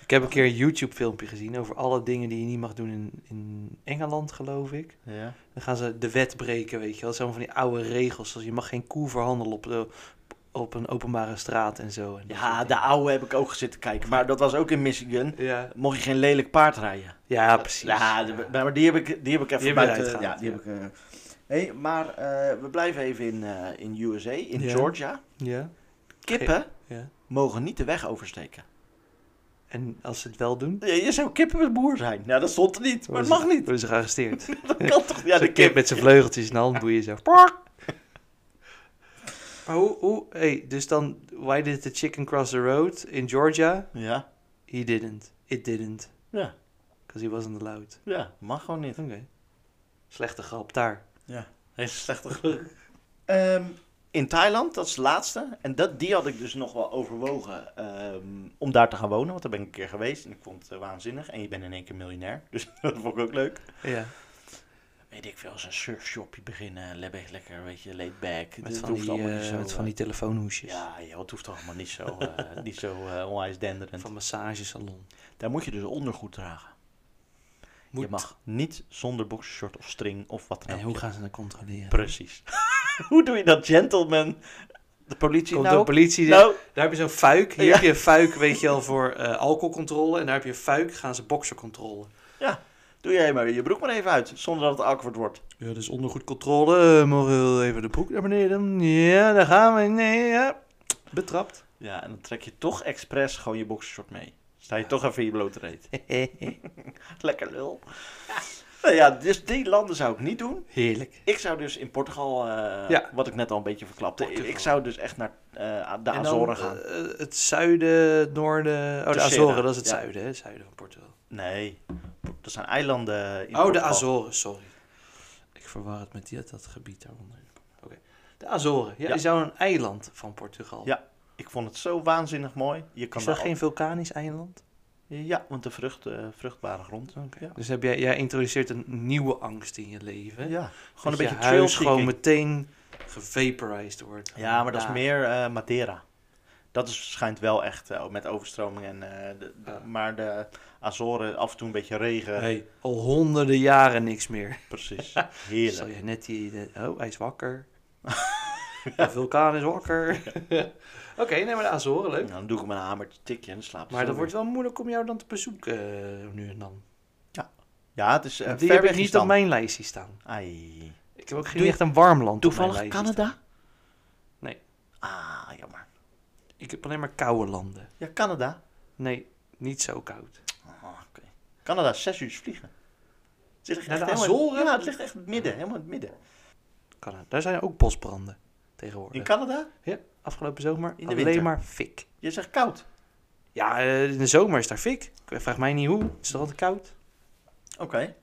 Ik heb een keer een YouTube-filmpje gezien over alle dingen die je niet mag doen in, in Engeland, geloof ik.
Ja.
Dan gaan ze de wet breken, weet je wel. Zo'n van die oude regels. Zoals je mag geen koe verhandelen op, de, op een openbare straat en zo. En dat
ja,
soort
de
dingen.
oude heb ik ook gezitten kijken, maar dat was ook in Michigan.
Ja,
Mocht je geen lelijk paard rijden.
ja precies.
Ja, de- nou, maar die heb ik, die heb ik even
Die heb je
buiten.
eruit
ja,
gehaald,
die
ja.
heb ik. eh, hey, maar eh, we blijven even in, eh, in USA, in
Ja.
Georgia.
Ja,
Kippen
ja.
mogen niet de weg oversteken.
En als ze het wel doen...
Je, je zou kippen met boer zijn. Nou, dat stond er niet. Maar het mag niet.
Worden ze gearresteerd.
Dat kan toch? Ja,
Zo'n
de kip.
met zijn vleugeltjes en handboeien zo. Pork! Maar hoe, hoe, hey, dus dan, why did the chicken cross the road in Georgia?
Ja,
He didn't. It didn't.
ja,
Because he wasn't allowed.
ja. Mag gewoon niet.
Oké. Slechte grap daar.
Hele slechte Ehm, in Thailand, dat is de laatste. En dat, die had ik dus nog wel overwogen ehm, om daar te gaan wonen. Want daar ben ik een keer geweest en ik vond het eh, waanzinnig. En je bent in één keer miljonair. Dus dat vond ik ook leuk.
Ja,
weet ik veel, als een surfshopje beginnen. Lekker, lekker, weet je, laid back.
met
Het
van,
hoeft
die,
allemaal
eh,
niet zo,
met van die
eh,
telefoonhoesjes.
Ja, joh, het hoeft toch allemaal niet zo, eh, niet zo eh, onwijs denderend.
Van massagesalon.
Daar moet je dus ondergoed dragen.
Moet.
Je mag niet zonder boxershort of string of wat dan
En
ook.
hoe gaan ze dat controleren?
Precies. hoe doe je dat, gentleman? De politie
Komt de
nou?
politie,
nou,
daar heb je zo'n fuik. Hier
Ja.
heb je een fuik, weet je wel, voor eh, alcoholcontrole. En daar heb je een fuik, gaan ze boksercontrole.
doe jij maar je broek maar even uit, zonder dat het awkward wordt.
Ja, dus ondergoedcontrole. Mogen we even de broek naar beneden? Ja, daar gaan we. Nee, ja. Betrapt.
Ja, en dan trek je toch expres gewoon je boxershort mee. Sta je toch even in je blote reet. Lekker lul. nou ja, dus die landen zou ik niet doen.
Heerlijk.
Ik zou dus in Portugal, eh,
Ja.
wat ik net al een beetje verklapte,
Portugal.
ik zou dus echt naar eh, de
En dan,
Azoren gaan.
eh, het zuiden, noorden. Oh, de
Terceira,
Azoren, dat is het
ja.
zuiden, hè? Het zuiden van Portugal.
Nee, dat zijn eilanden in
oh, de
Portugal.
Azoren, sorry. Ik verwar het met die, dat gebied daaronder. Oké. De Azoren, ja,
Ja.
is nou een eiland van Portugal.
Ja, Ik vond het zo waanzinnig mooi. Je kan
Is dat
daar
geen vulkanisch eiland?
al- Ja, want de vrucht, eh, vruchtbare grond.
Oké.
Ja.
Dus heb jij, jij introduceert een nieuwe angst in je leven.
Ja,
Dat
gewoon een
je
beetje trail
huis gewoon meteen gevaporized wordt. Ah.
Ja, maar dat is
Ja.
meer eh, Madeira. Dat is, schijnt wel echt eh, met overstroming. En, eh, de- de-
Ah.
Maar de Azoren, af en toe een beetje regen.
Hey, al honderden jaren niks meer.
Precies,
Zal
heerlijk.
je net die... de- oh, hij is wakker. de vulkaan is wakker. Oké, nee, maar de Azoren,
Nou,
leuk.
dan doe ik hem een hamertje tikje en dan slaap ik
Maar
zo
dat wordt wel moeilijk om jou dan te bezoeken eh, nu en dan.
weer. Ja, het is eh,
Want die
ver
heb ik
weg
niet
is dan.
op mijn lijstje staan.
Ai.
Ik heb ook geen
Doe je-
echt een warm land op
Toevallig
mijn lijstje
Canada?
Nee.
Ah, jammer.
staan. Ik heb alleen maar koude landen.
Ja, Canada.
Nee, niet zo koud.
Ah, oké. Canada, is zes uur vliegen. Het ligt
Naar
echt
de
helemaal-
Azoren?
Ja, het ligt echt in het midden, helemaal in het midden.
Canada. Daar zijn ook bosbranden
In
tegenwoordig.
Canada?
ja, afgelopen zomer
de
alleen
winter.
maar fik.
Je zegt koud.
Ja, eh, in de zomer is daar fik. Ik- Vraag mij niet hoe. Het is toch altijd koud?
Oké.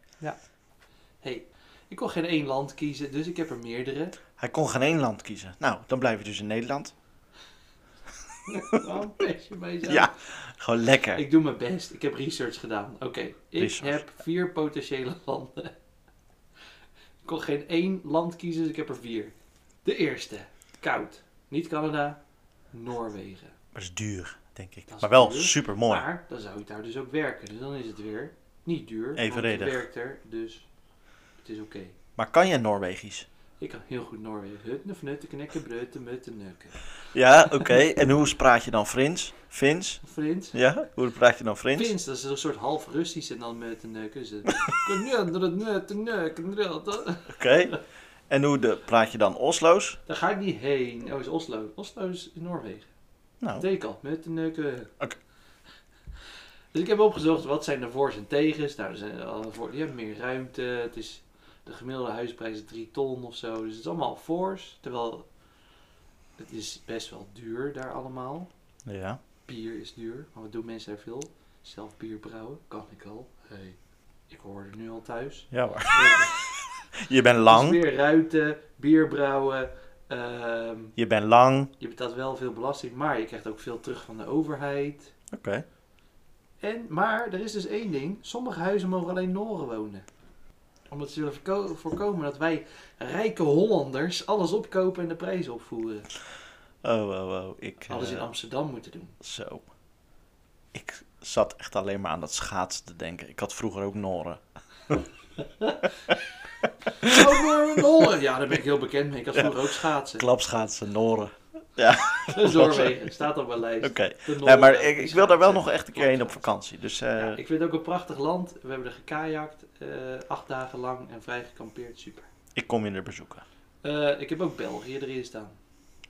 hey, ik kon geen één land kiezen, dus ik heb er meerdere.
Hij kon geen één land kiezen. Nou, dan blijf je dus in Nederland.
Waarom pers je mij zo?
Ja, gewoon lekker.
Ik doe mijn best. Ik heb research gedaan. Oké, ik
Research.
heb vier potentiële landen. Ik kon geen één land kiezen, dus ik heb er vier. De eerste, koud. Niet Canada, Noorwegen.
Maar is duur, denk ik.
Dat is
maar wel
duur.
super mooi.
Maar dan zou ik daar dus ook werken. Dus dan is het weer niet duur. want
Evenredig.
je werkt er, dus het is oké.
Maar kan jij Norwegisch?
Ik kan heel goed Noorwegen. Hutten, fnutten, knekken, breuten, mutten, neuken.
Ja, oké. En hoe praat je dan Frins? Fins?
Frins?
Ja, hoe praat je dan Frins?
Fins, dat is een soort half Russisch en dan met een neuken. Dus het...
Oké. En hoe de, praat je dan Oslo's?
Daar ga ik niet heen. Oh, is Oslo. Oslo is in Noorwegen.
Nou,
Dat deed ik al. Met een neuken.
Oké.
Dus ik heb opgezocht wat zijn de voor's en tegens. Nou, er zijn alle voor. Je hebt meer ruimte. Het is de gemiddelde huisprijs is 3 ton of zo. Dus het is allemaal voor's. Terwijl het is best wel duur daar allemaal.
ja.
Bier is duur, maar wat doen mensen daar veel? Zelf bier brouwen, kan ik al. Hey. Ik hoor er nu al thuis.
Ja hoor. Je bent lang.
Dus weer ruiten, bier brouwen, Ehm,
Je bent lang.
je betaalt wel veel belasting, maar je krijgt ook veel terug van de overheid.
Oké.
En, maar er is dus één ding. Sommige huizen mogen alleen Noren wonen. Omdat ze willen verko- voorkomen dat wij rijke Hollanders alles opkopen en de prijzen opvoeren.
Oh, oh, oh. Ik,
Alles in
eh,
Amsterdam moeten doen.
Zo. Ik zat echt alleen maar aan dat schaatsen te denken. Ik had vroeger ook Noren.
Oh, Noren, Noren! Ja, daar ben ik heel bekend mee. Ik had vroeger ook schaatsen.
Klapschaatsen, Noren.
Noorwegen staat op mijn lijst.
Oké.
De
Nee,
Noren,
maar ik, ik wil daar wel
schaatsen.
nog echt een keer heen op vakantie. Dus eh,
Ja, ik vind het ook een prachtig land. We hebben er gekajakt, eh, acht dagen lang en vrij gekampeerd. Super.
ik kom je er bezoeken.
Eh, ik heb ook België erin staan.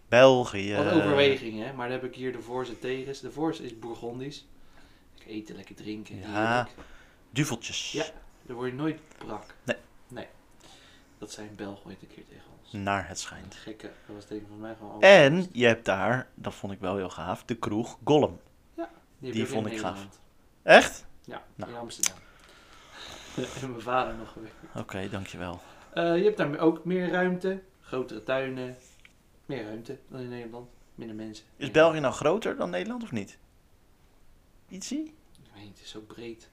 België.
Wat overweging, hè? Maar dan heb ik hier de voor's en tegens. De voor's is Bourgondisch. Lekker eten, lekker drinken.
Ja.
heerlijk.
Duveltjes.
Ja. Daar word je nooit brak.
Nee.
Nee. Dat zijn Belgen ooit een keer tegen ons.
Naar het schijnt.
Gekke, dat was tegen van mij gewoon. over-
Hm. En je hebt daar, dat vond ik wel heel gaaf, de kroeg Gollum.
heb
die
ik in
vond ik gaaf.
Nederland.
Echt?
Ja,
Nou.
in Amsterdam. en mijn vader nog gewerkt.
Oké, dankjewel.
Eh, je hebt daar ook meer ruimte, grotere tuinen, meer ruimte dan in Nederland, minder mensen.
Is
Meer-
België nou groter dan Nederland of niet? Ietsie?
Ik weet niet, het is zo breed.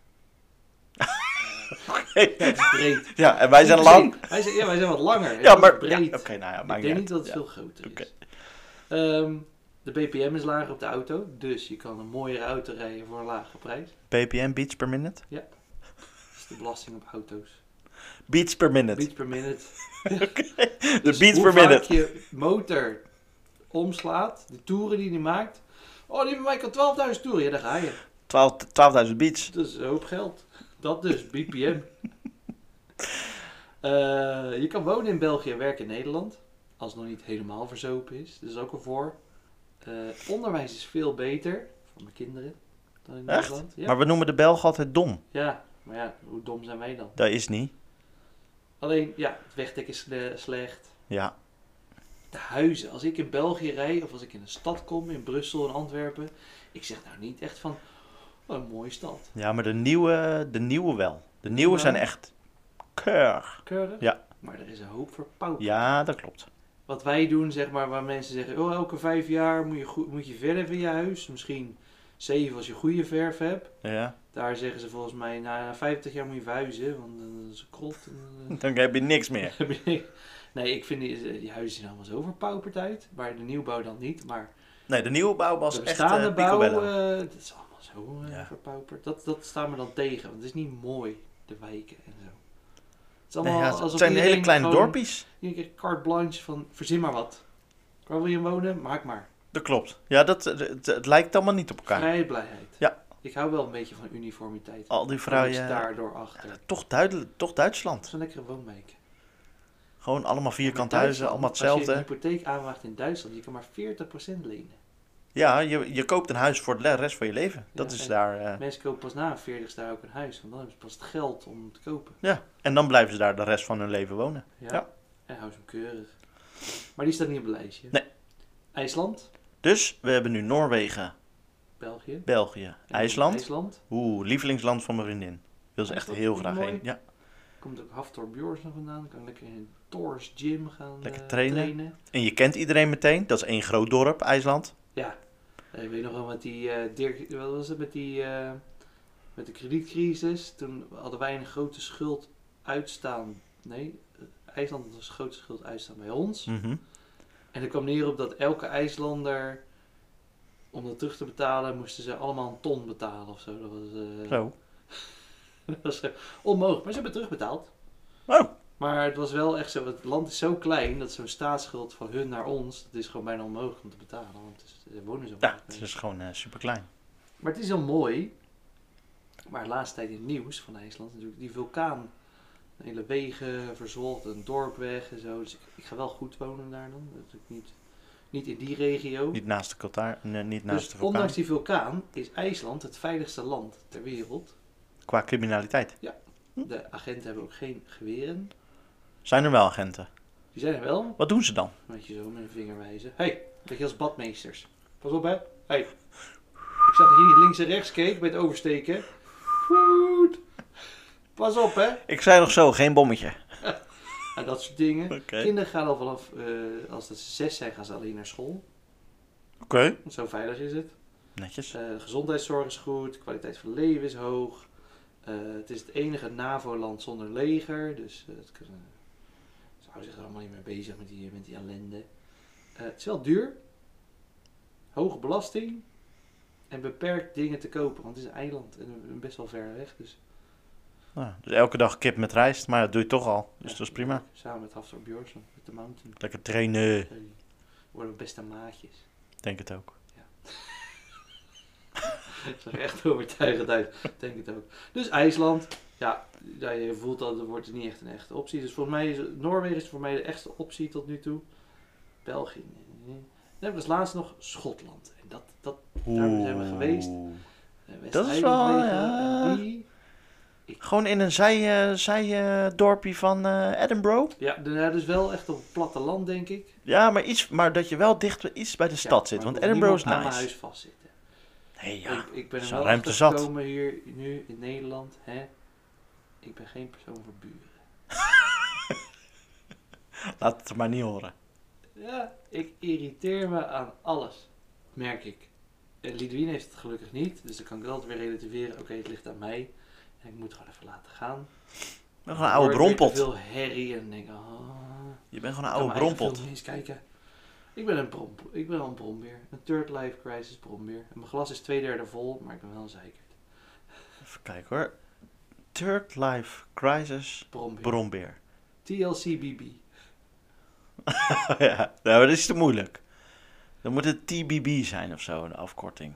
Hey,
Ja, het is breed.
ja, en wij zijn
Niet per se-
lang.
Wij zijn, ja, wij zijn wat langer.
Ja, maar... ja,
breed.
Oké, nou ja,
ik
maakt
denk
niet
niet dat het
uit.
veel
Ja.
groter is.
Oké.
Ehm, de BPM is lager op de auto, dus je kan een mooiere auto rijden voor een lagere prijs.
BPM, beats per minute?
Dat is de belasting op auto's.
Beats per minute.
Beats per minute.
De
Dus
beats
hoe
per
vaak
minute.
je motor omslaat, de toeren die hij maakt. Oh, die bij mij kan 12.000 toeren. Ja, daar ga je.
12 12.000 beats.
Dat is Dus een hoop geld. Dat dus, BPM. Eh, je kan wonen in België en werken in Nederland. Als het nog niet helemaal verzopen is. Dat is ook een voor. Eh, onderwijs is veel beter voor mijn kinderen dan in
Echt?
Nederland. Ja.
Maar we noemen de Belgen altijd dom.
ja, maar ja, hoe dom zijn wij dan?
Dat is niet.
Alleen, ja, het wegdek is eh, slecht.
Ja.
De huizen. Als ik in België rij of als ik in een stad kom, in Brussel en Antwerpen. Ik zeg nou niet echt van, wat een mooie stad.
ja, maar de nieuwe, de nieuwe wel. De nieuwe
Ja.
zijn echt keurig.
Keurig.
Ja.
Maar er is een hoop verpauperd.
Ja, dat klopt.
wat wij doen, zeg maar, waar mensen zeggen: oh, elke vijf jaar moet je, goed, moet je verven in je huis. Misschien zeven als je goede verf hebt.
Ja.
Daar zeggen ze volgens mij: na 50 jaar moet je verhuizen, want dan is het krot. en eh,
Dan heb je niks meer.
dan- nee, ik vind die, die huizen zien allemaal zo verpauperd uit. Maar de nieuwbouw dan niet. Maar
Nee, de nieuwe bouw was
de
echt
bestaande
eh
bouw,
picobello.
eh, dat is allemaal zo eh,
Ja.
verpauperd. Dat, dat staat me dan tegen, want het is niet mooi, de wijken en zo. Het, is
Nee,
allemaal
ja,
alsof
het zijn hele
iedereen
kleine
gewoon-
dorpjes.
Je krijgt carte blanche van verzin maar wat. Waar wil je wonen? Maak maar.
Dat klopt. Ja, dat, het, het- het lijkt allemaal niet op elkaar.
Vrije blijheid.
Ja.
Ik hou wel een beetje van uniformiteit.
Al die
Alles
vrouwen. eh,
daardoor achter.
Toch, duidelijk, toch Duitsland.
Zo'n lekkere woonwijk.
Gewoon allemaal vierkant
Maar
huizen,
Duitsland,
allemaal
Als je een
hetzelfde.
hypotheek aanwaagt in Duitsland, je kan maar 40% lenen.
Ja, je, je koopt een huis voor de le- rest van je leven. Dat
Ja,
is
en-
daar. eh,
Mensen kopen pas na hun 40ste ook een huis, want dan hebben ze pas het geld om te kopen.
ja. En dan blijven ze daar de rest van hun leven wonen.
Ja.
Ja.
En hou ze hem keurig. Maar die staat niet op het lijstje.
Nee.
IJsland,
Dus we hebben nu Noorwegen,
België. en
België, IJsland.
IJsland.
Oeh, lievelingsland van mijn vriendin. Wil ze echt
IJsland,
heel
vind
graag
ik
heen.
mooi.
Ja.
Komt ook Haftor Bjorns nog vandaan. Kan lekker in een Thor's gym gaan
Lekker
eh,
trainen. En je kent iedereen meteen. Dat is één groot dorp, IJsland.
Ja, Eh, ik weet nog wel met die eh, Dirk, wat was het met die eh, met de kredietcrisis? Toen hadden wij een grote schuld uitstaan. Nee, eh, IJsland had een grote schuld uitstaan bij ons.
Mhm.
En dat kwam neer op dat elke IJslander, om dat terug te betalen, moesten ze allemaal een ton betalen of zo. Dat was, eh,
Zo.
dat was eh, onmogelijk, maar ze hebben het terugbetaald.
Oh,
Maar het was wel echt zo, het land is zo klein dat zo'n staatsschuld van hun naar ons, dat is gewoon bijna onmogelijk om te betalen. Want het is- er wonen zo
ja,
weinig
het
mensen.
is gewoon eh super klein.
Maar het is heel mooi. Maar de laatste tijd in het nieuws van IJsland natuurlijk die vulkaan. Hele wegen verzwolgt, een dorp weg en zo. Dus ik, ik ga wel goed wonen daar dan. Natuurlijk niet, niet in die regio.
Niet naast de Qatar, nee, niet naast
dus
de vulkaan.
ondanks die vulkaan is IJsland het veiligste land ter wereld.
Qua criminaliteit. Hm?
De agenten hebben ook geen geweren.
Zijn er wel agenten?
Die zijn er wel.
Wat doen ze dan?
Een beetje zo met een vinger wijzen. Hé, hey, een beetje als badmeesters. Pas op hè. Hey. Ik zag dat je niet links en rechts keek bij het oversteken. Goed. Pas op hè.
Ik zei nog zo, geen bommetje.
Nou, dat soort dingen.
Oké.
Kinderen gaan al vanaf, eh, als dat ze zes zijn, gaan ze alleen naar school.
Oké.
Want zo veilig is het.
Netjes.
Eh, de gezondheidszorg is goed, de kwaliteit van leven is hoog. Eh, het is het enige NAVO-land zonder leger, dus eh, het kan, eh, ze houden zich er allemaal niet mee bezig met die, met die ellende. Eh, het is wel duur, hoge belasting en beperkt dingen te kopen, want het is een eiland en best wel ver weg. Dus,
Nou, dus elke dag kip met rijst, maar dat doe je toch al. Dus
Ja,
dat is prima.
Samen met Haftor Björnsson, met de mountain.
Lekker trainen.
Sorry. Worden we beste maatjes.
Denk het ook.
Ik zag er echt overtuigend uit. Ik Denk het ook. Dus IJsland. Ja, ja, je voelt dat het wordt niet echt een echte optie. Dus volgens mij is Noorwegen is voor mij de echte optie tot nu toe. België. nee. Dan hebben we als laatste nog Schotland. En dat, dat Daar zijn we geweest.
Oeh.
eh, West
Dat is
Eiland
wel,
liggen,
ja.
en die.
Gewoon in een zij, eh zij, eh, dorpje van eh, Edinburgh.
Ja, de- ja, dus wel echt op het platteland, denk ik.
Ja, maar, iets, maar dat je wel dicht iets bij de
Ja,
stad zit.
maar
Want
ik wil
Edinburgh is
niemand aan mijn
nice.
huis vastzitten.
Nee, ja.
ik, ik ben
is
er
wel
wel
ruimte
achter
zat.
gekomen hier nu in Nederland. Hè? Ik ben geen persoon voor buren.
Laat het maar niet horen.
Ja, ik irriteer me aan alles, merk ik. En Lidwien heeft het gelukkig niet, dus dan kan ik altijd weer relativeren. Oké, het ligt aan mij. En ik moet het gewoon even laten gaan.
Je bent gewoon een oude
Ik hoor weer te
brompot.
veel herrie en dan denk ik, oh,
Je bent gewoon een
kan
oude
mijn eigen
brompot.
film niet eens kijken. Ik ben een brom, ik ben al een brombeer. Een third life crisis brombeer. En mijn glas is twee derde vol, maar ik ben wel een zeikert.
Even kijken hoor. Third Life Crisis
Brombeer.
Brombeer.
TLCBB.
ja, nou, maar dat is te moeilijk. Dan moet het TBB zijn of zo, de afkorting.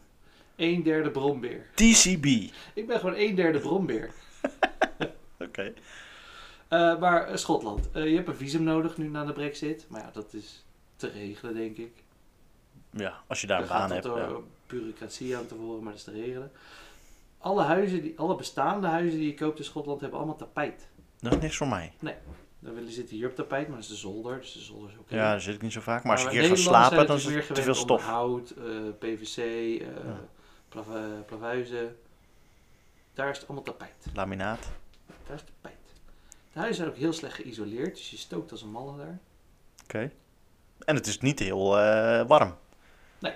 Een derde brombeer.
TCB.
Ik ben gewoon een derde brombeer.
Oké.
Eh, maar eh, Schotland, Eh, je hebt een visum nodig nu na de brexit. Maar ja, dat is te regelen, denk ik.
Ja, als je daar een
Dan gaat
baan
dat
hebt.
door
ja.
bureaucratie aan te horen, maar dat is te regelen. Alle, huizen die, alle bestaande huizen die je koopt in Schotland hebben allemaal tapijt.
Dat is niks voor mij.
Dan willen zitten hier op tapijt, maar dat is de zolder, dus de zolder is oké.
Ja, daar zit ik niet zo vaak. Maar als je
Nou, in
een keer gaat
Nederland zijn
slapen, dan is
natuurlijk
het te
weer
veel
gewend om
stof.
Hout, eh, PVC, eh,
Ja.
plaf- eh, plavuizen. Daar is het allemaal tapijt.
Laminaat.
Daar is tapijt. De huizen zijn ook heel slecht geïsoleerd, dus je stookt als een malle daar.
Oké. En het is niet heel eh, warm.
Nee.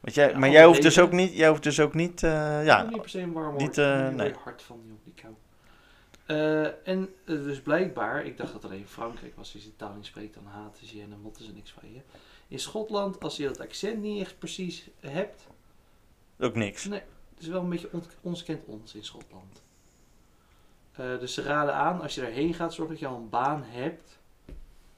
Want jij,
Ja,
maar jij hoeft,
regen.
dus ook niet, jij hoeft dus ook niet... eh,
Ja,
ja,
niet per se een warm hoor.
niet,
Niet,
eh, nee.
nee. hard van, joh, die kou. Eh, en eh, dus blijkbaar, ik dacht dat alleen in Frankrijk was, als je de taal niet spreekt, dan haten ze je en dan motten ze niks van je. In Schotland, als je dat accent niet echt precies hebt,
ook niks.
het is wel een beetje ont- ons kent ons in Schotland. Eh, dus ze raden aan, als je daarheen gaat, zorg dat je al een baan hebt.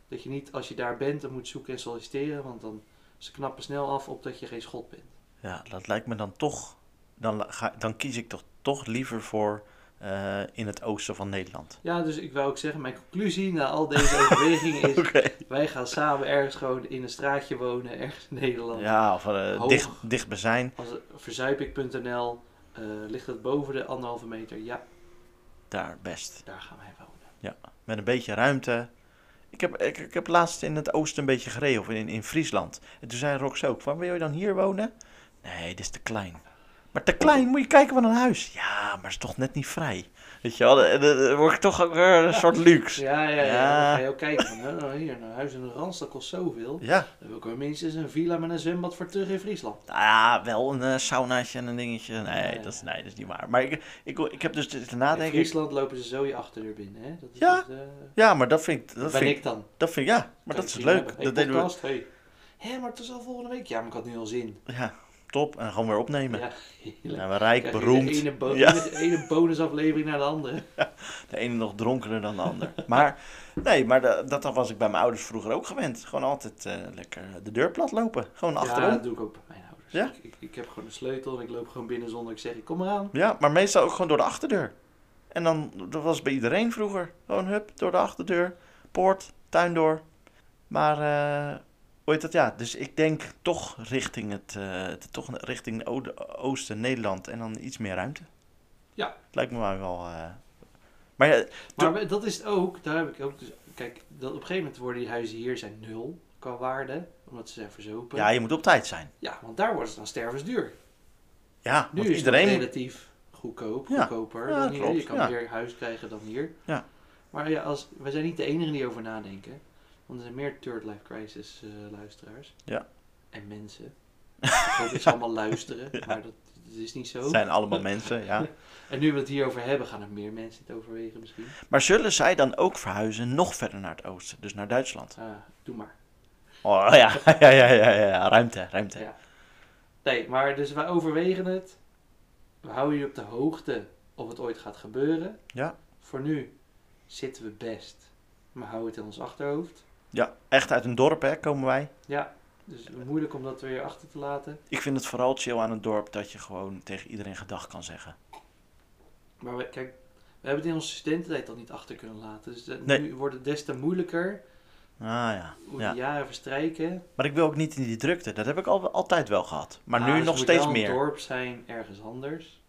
Dat je niet, als je daar bent, dan moet zoeken en solliciteren, want dan ze knappen snel af op dat je geen Schot bent.
Ja, dat lijkt me dan toch... Dan, la- ga, dan kies ik toch, toch liever voor eh, in het oosten van Nederland.
Ja, dus ik wou ook zeggen, mijn conclusie na al deze overwegingen is, Wij gaan samen ergens gewoon in een straatje wonen, ergens in Nederland.
Ja, of eh
Hoog.
dicht, dichtbij zijn.
Als verzuipik.nl eh, ligt het boven de anderhalve meter. Ja,
Daar best.
daar gaan wij wonen.
Met een beetje ruimte. Ik heb, ik, ik heb laatst in het oosten een beetje gereden, of in, in Friesland. En toen zei Rox ook, van wil je dan hier wonen? Nee, dit is te klein. Maar te klein, moet je kijken van een huis. Ja, maar is toch net niet vrij. Weet je wel, dan- dan dan word ik toch ook weer een soort luxe.
Ja, ja, ja.
Ja.
Dan ga je ook kijken. Van, nou, nou, hier, een huis in de Rans, dat kost zoveel.
Ja,
Dan wil ik wel minstens een villa met een zwembad voor terug in Friesland.
nou ja wel een eh, saunaatje en een dingetje. Nee,
Ja,
dat is,
ja.
nee, dat is niet waar. Maar ik, ik, ik heb dus zitten
in
nadenken.
Friesland lopen ze zo je achterdeur binnen. Hè? Dat is
Ja.
echt, eh,
Ja, maar dat vind ik... Dat
ben
vind
ik dan.
Dat vind ik, ja,
Kan
maar dat
je
is
zien
leuk.
hebben. Hey,
dat deden we,
podcast, hey. Hé, maar het is al volgende week. Ja, maar ik had nu al zin.
ja, top. En gewoon weer opnemen.
Ja,
Dan
heerlijk.
zijn we rijk,
Krijg je
beroemd.
De ene, bo-
Ja.
de ene bonusaflevering naar de andere.
De ene nog dronkener dan de ander. Maar nee, maar da- dat, was ik bij mijn ouders vroeger ook gewend. Gewoon altijd eh, lekker de deur plat lopen. Gewoon
Ja,
achterom.
dat doe ik ook bij mijn ouders.
Ja?
Ik, ik, ik heb gewoon een sleutel en ik loop gewoon binnen zonder ik zeg, ik kom eraan.
Ja, maar meestal ook gewoon door de achterdeur. En dan, dat was bij iedereen vroeger. Gewoon hup, door de achterdeur. Poort, tuin door. Maar, eh hoe heet dat? Ja, dus ik denk toch richting het, eh, toch richting o- oosten, Nederland. En dan iets meer ruimte.
Ja.
Lijkt me maar wel... eh. Maar ja,
Maar we- dat is het ook, daar heb ik ook dus, kijk, dat op een gegeven moment worden die huizen hier zijn nul qua waarde, omdat ze zijn verzopen.
ja, je moet op tijd zijn.
Ja, want daar wordt het dan stervensduur.
Ja,
Nu
want
is
iedereen...
het relatief goedkoop,
Ja.
goedkoper
Ja,
dan hier.
klopt,
Je kan
ja.
meer huis krijgen dan hier.
Ja.
Maar ja, als, wij zijn niet de enigen die over nadenken. Want er zijn meer Third Life Crisis eh, luisteraars.
Ja.
En mensen. Ik hoop dat ze allemaal luisteren, maar dat, dat is niet zo.
Het zijn allemaal mensen, ja.
En nu we het hierover hebben, gaan er meer mensen het overwegen misschien.
Maar zullen zij dan ook verhuizen nog verder naar het oosten, dus naar Duitsland?
Ah, doe maar.
Oh ja, ja, ja, ja, ja. ruimte, ruimte.
Ja. Nee, maar dus wij overwegen het. We houden jullie op de hoogte of het ooit gaat gebeuren.
Ja.
Voor nu zitten we best, maar hou het in ons achterhoofd.
Ja, echt uit een dorp hè, komen wij.
Ja, dus moeilijk om dat weer achter te laten.
Ik vind het vooral chill aan een dorp dat je gewoon tegen iedereen gedag kan zeggen.
Maar we, kijk, we hebben het in onze studententijd al niet achter kunnen laten. Dus dat-
Nee.
nu wordt het des te moeilijker
Ah ja.
hoe
Ja.
de jaren verstrijken.
Maar ik wil ook niet in die drukte. Dat heb ik al, altijd wel gehad. Maar
Ah,
nu
dus het
nog
moet
steeds
wel
meer.
een dorp zijn ergens anders.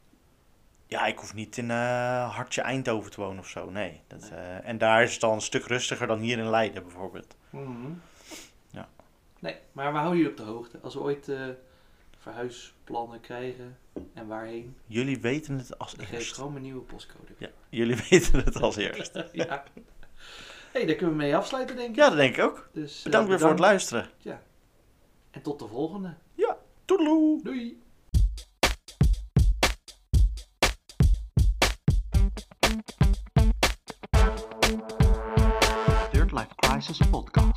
Ja, ik hoef niet in eh Hartje Eindhoven te wonen of zo. Nee. Dat, eh, en daar is het al een stuk rustiger dan hier in Leiden bijvoorbeeld. Ja.
Mhm. Nee, maar we houden jullie op de hoogte. Als we ooit eh, verhuisplannen krijgen en waarheen,
Jullie weten het als
dan geef ik
eerst.
gewoon mijn nieuwe postcode.
Ja, jullie weten het als eerst.
ja. hey, daar kunnen we mee afsluiten, denk ik.
Ja, dat denk ik ook.
Dus, eh,
Bedankt weer voor het luisteren.
En tot de volgende.
Toedeloe!
Doei!
Third Life Crisis Podcast.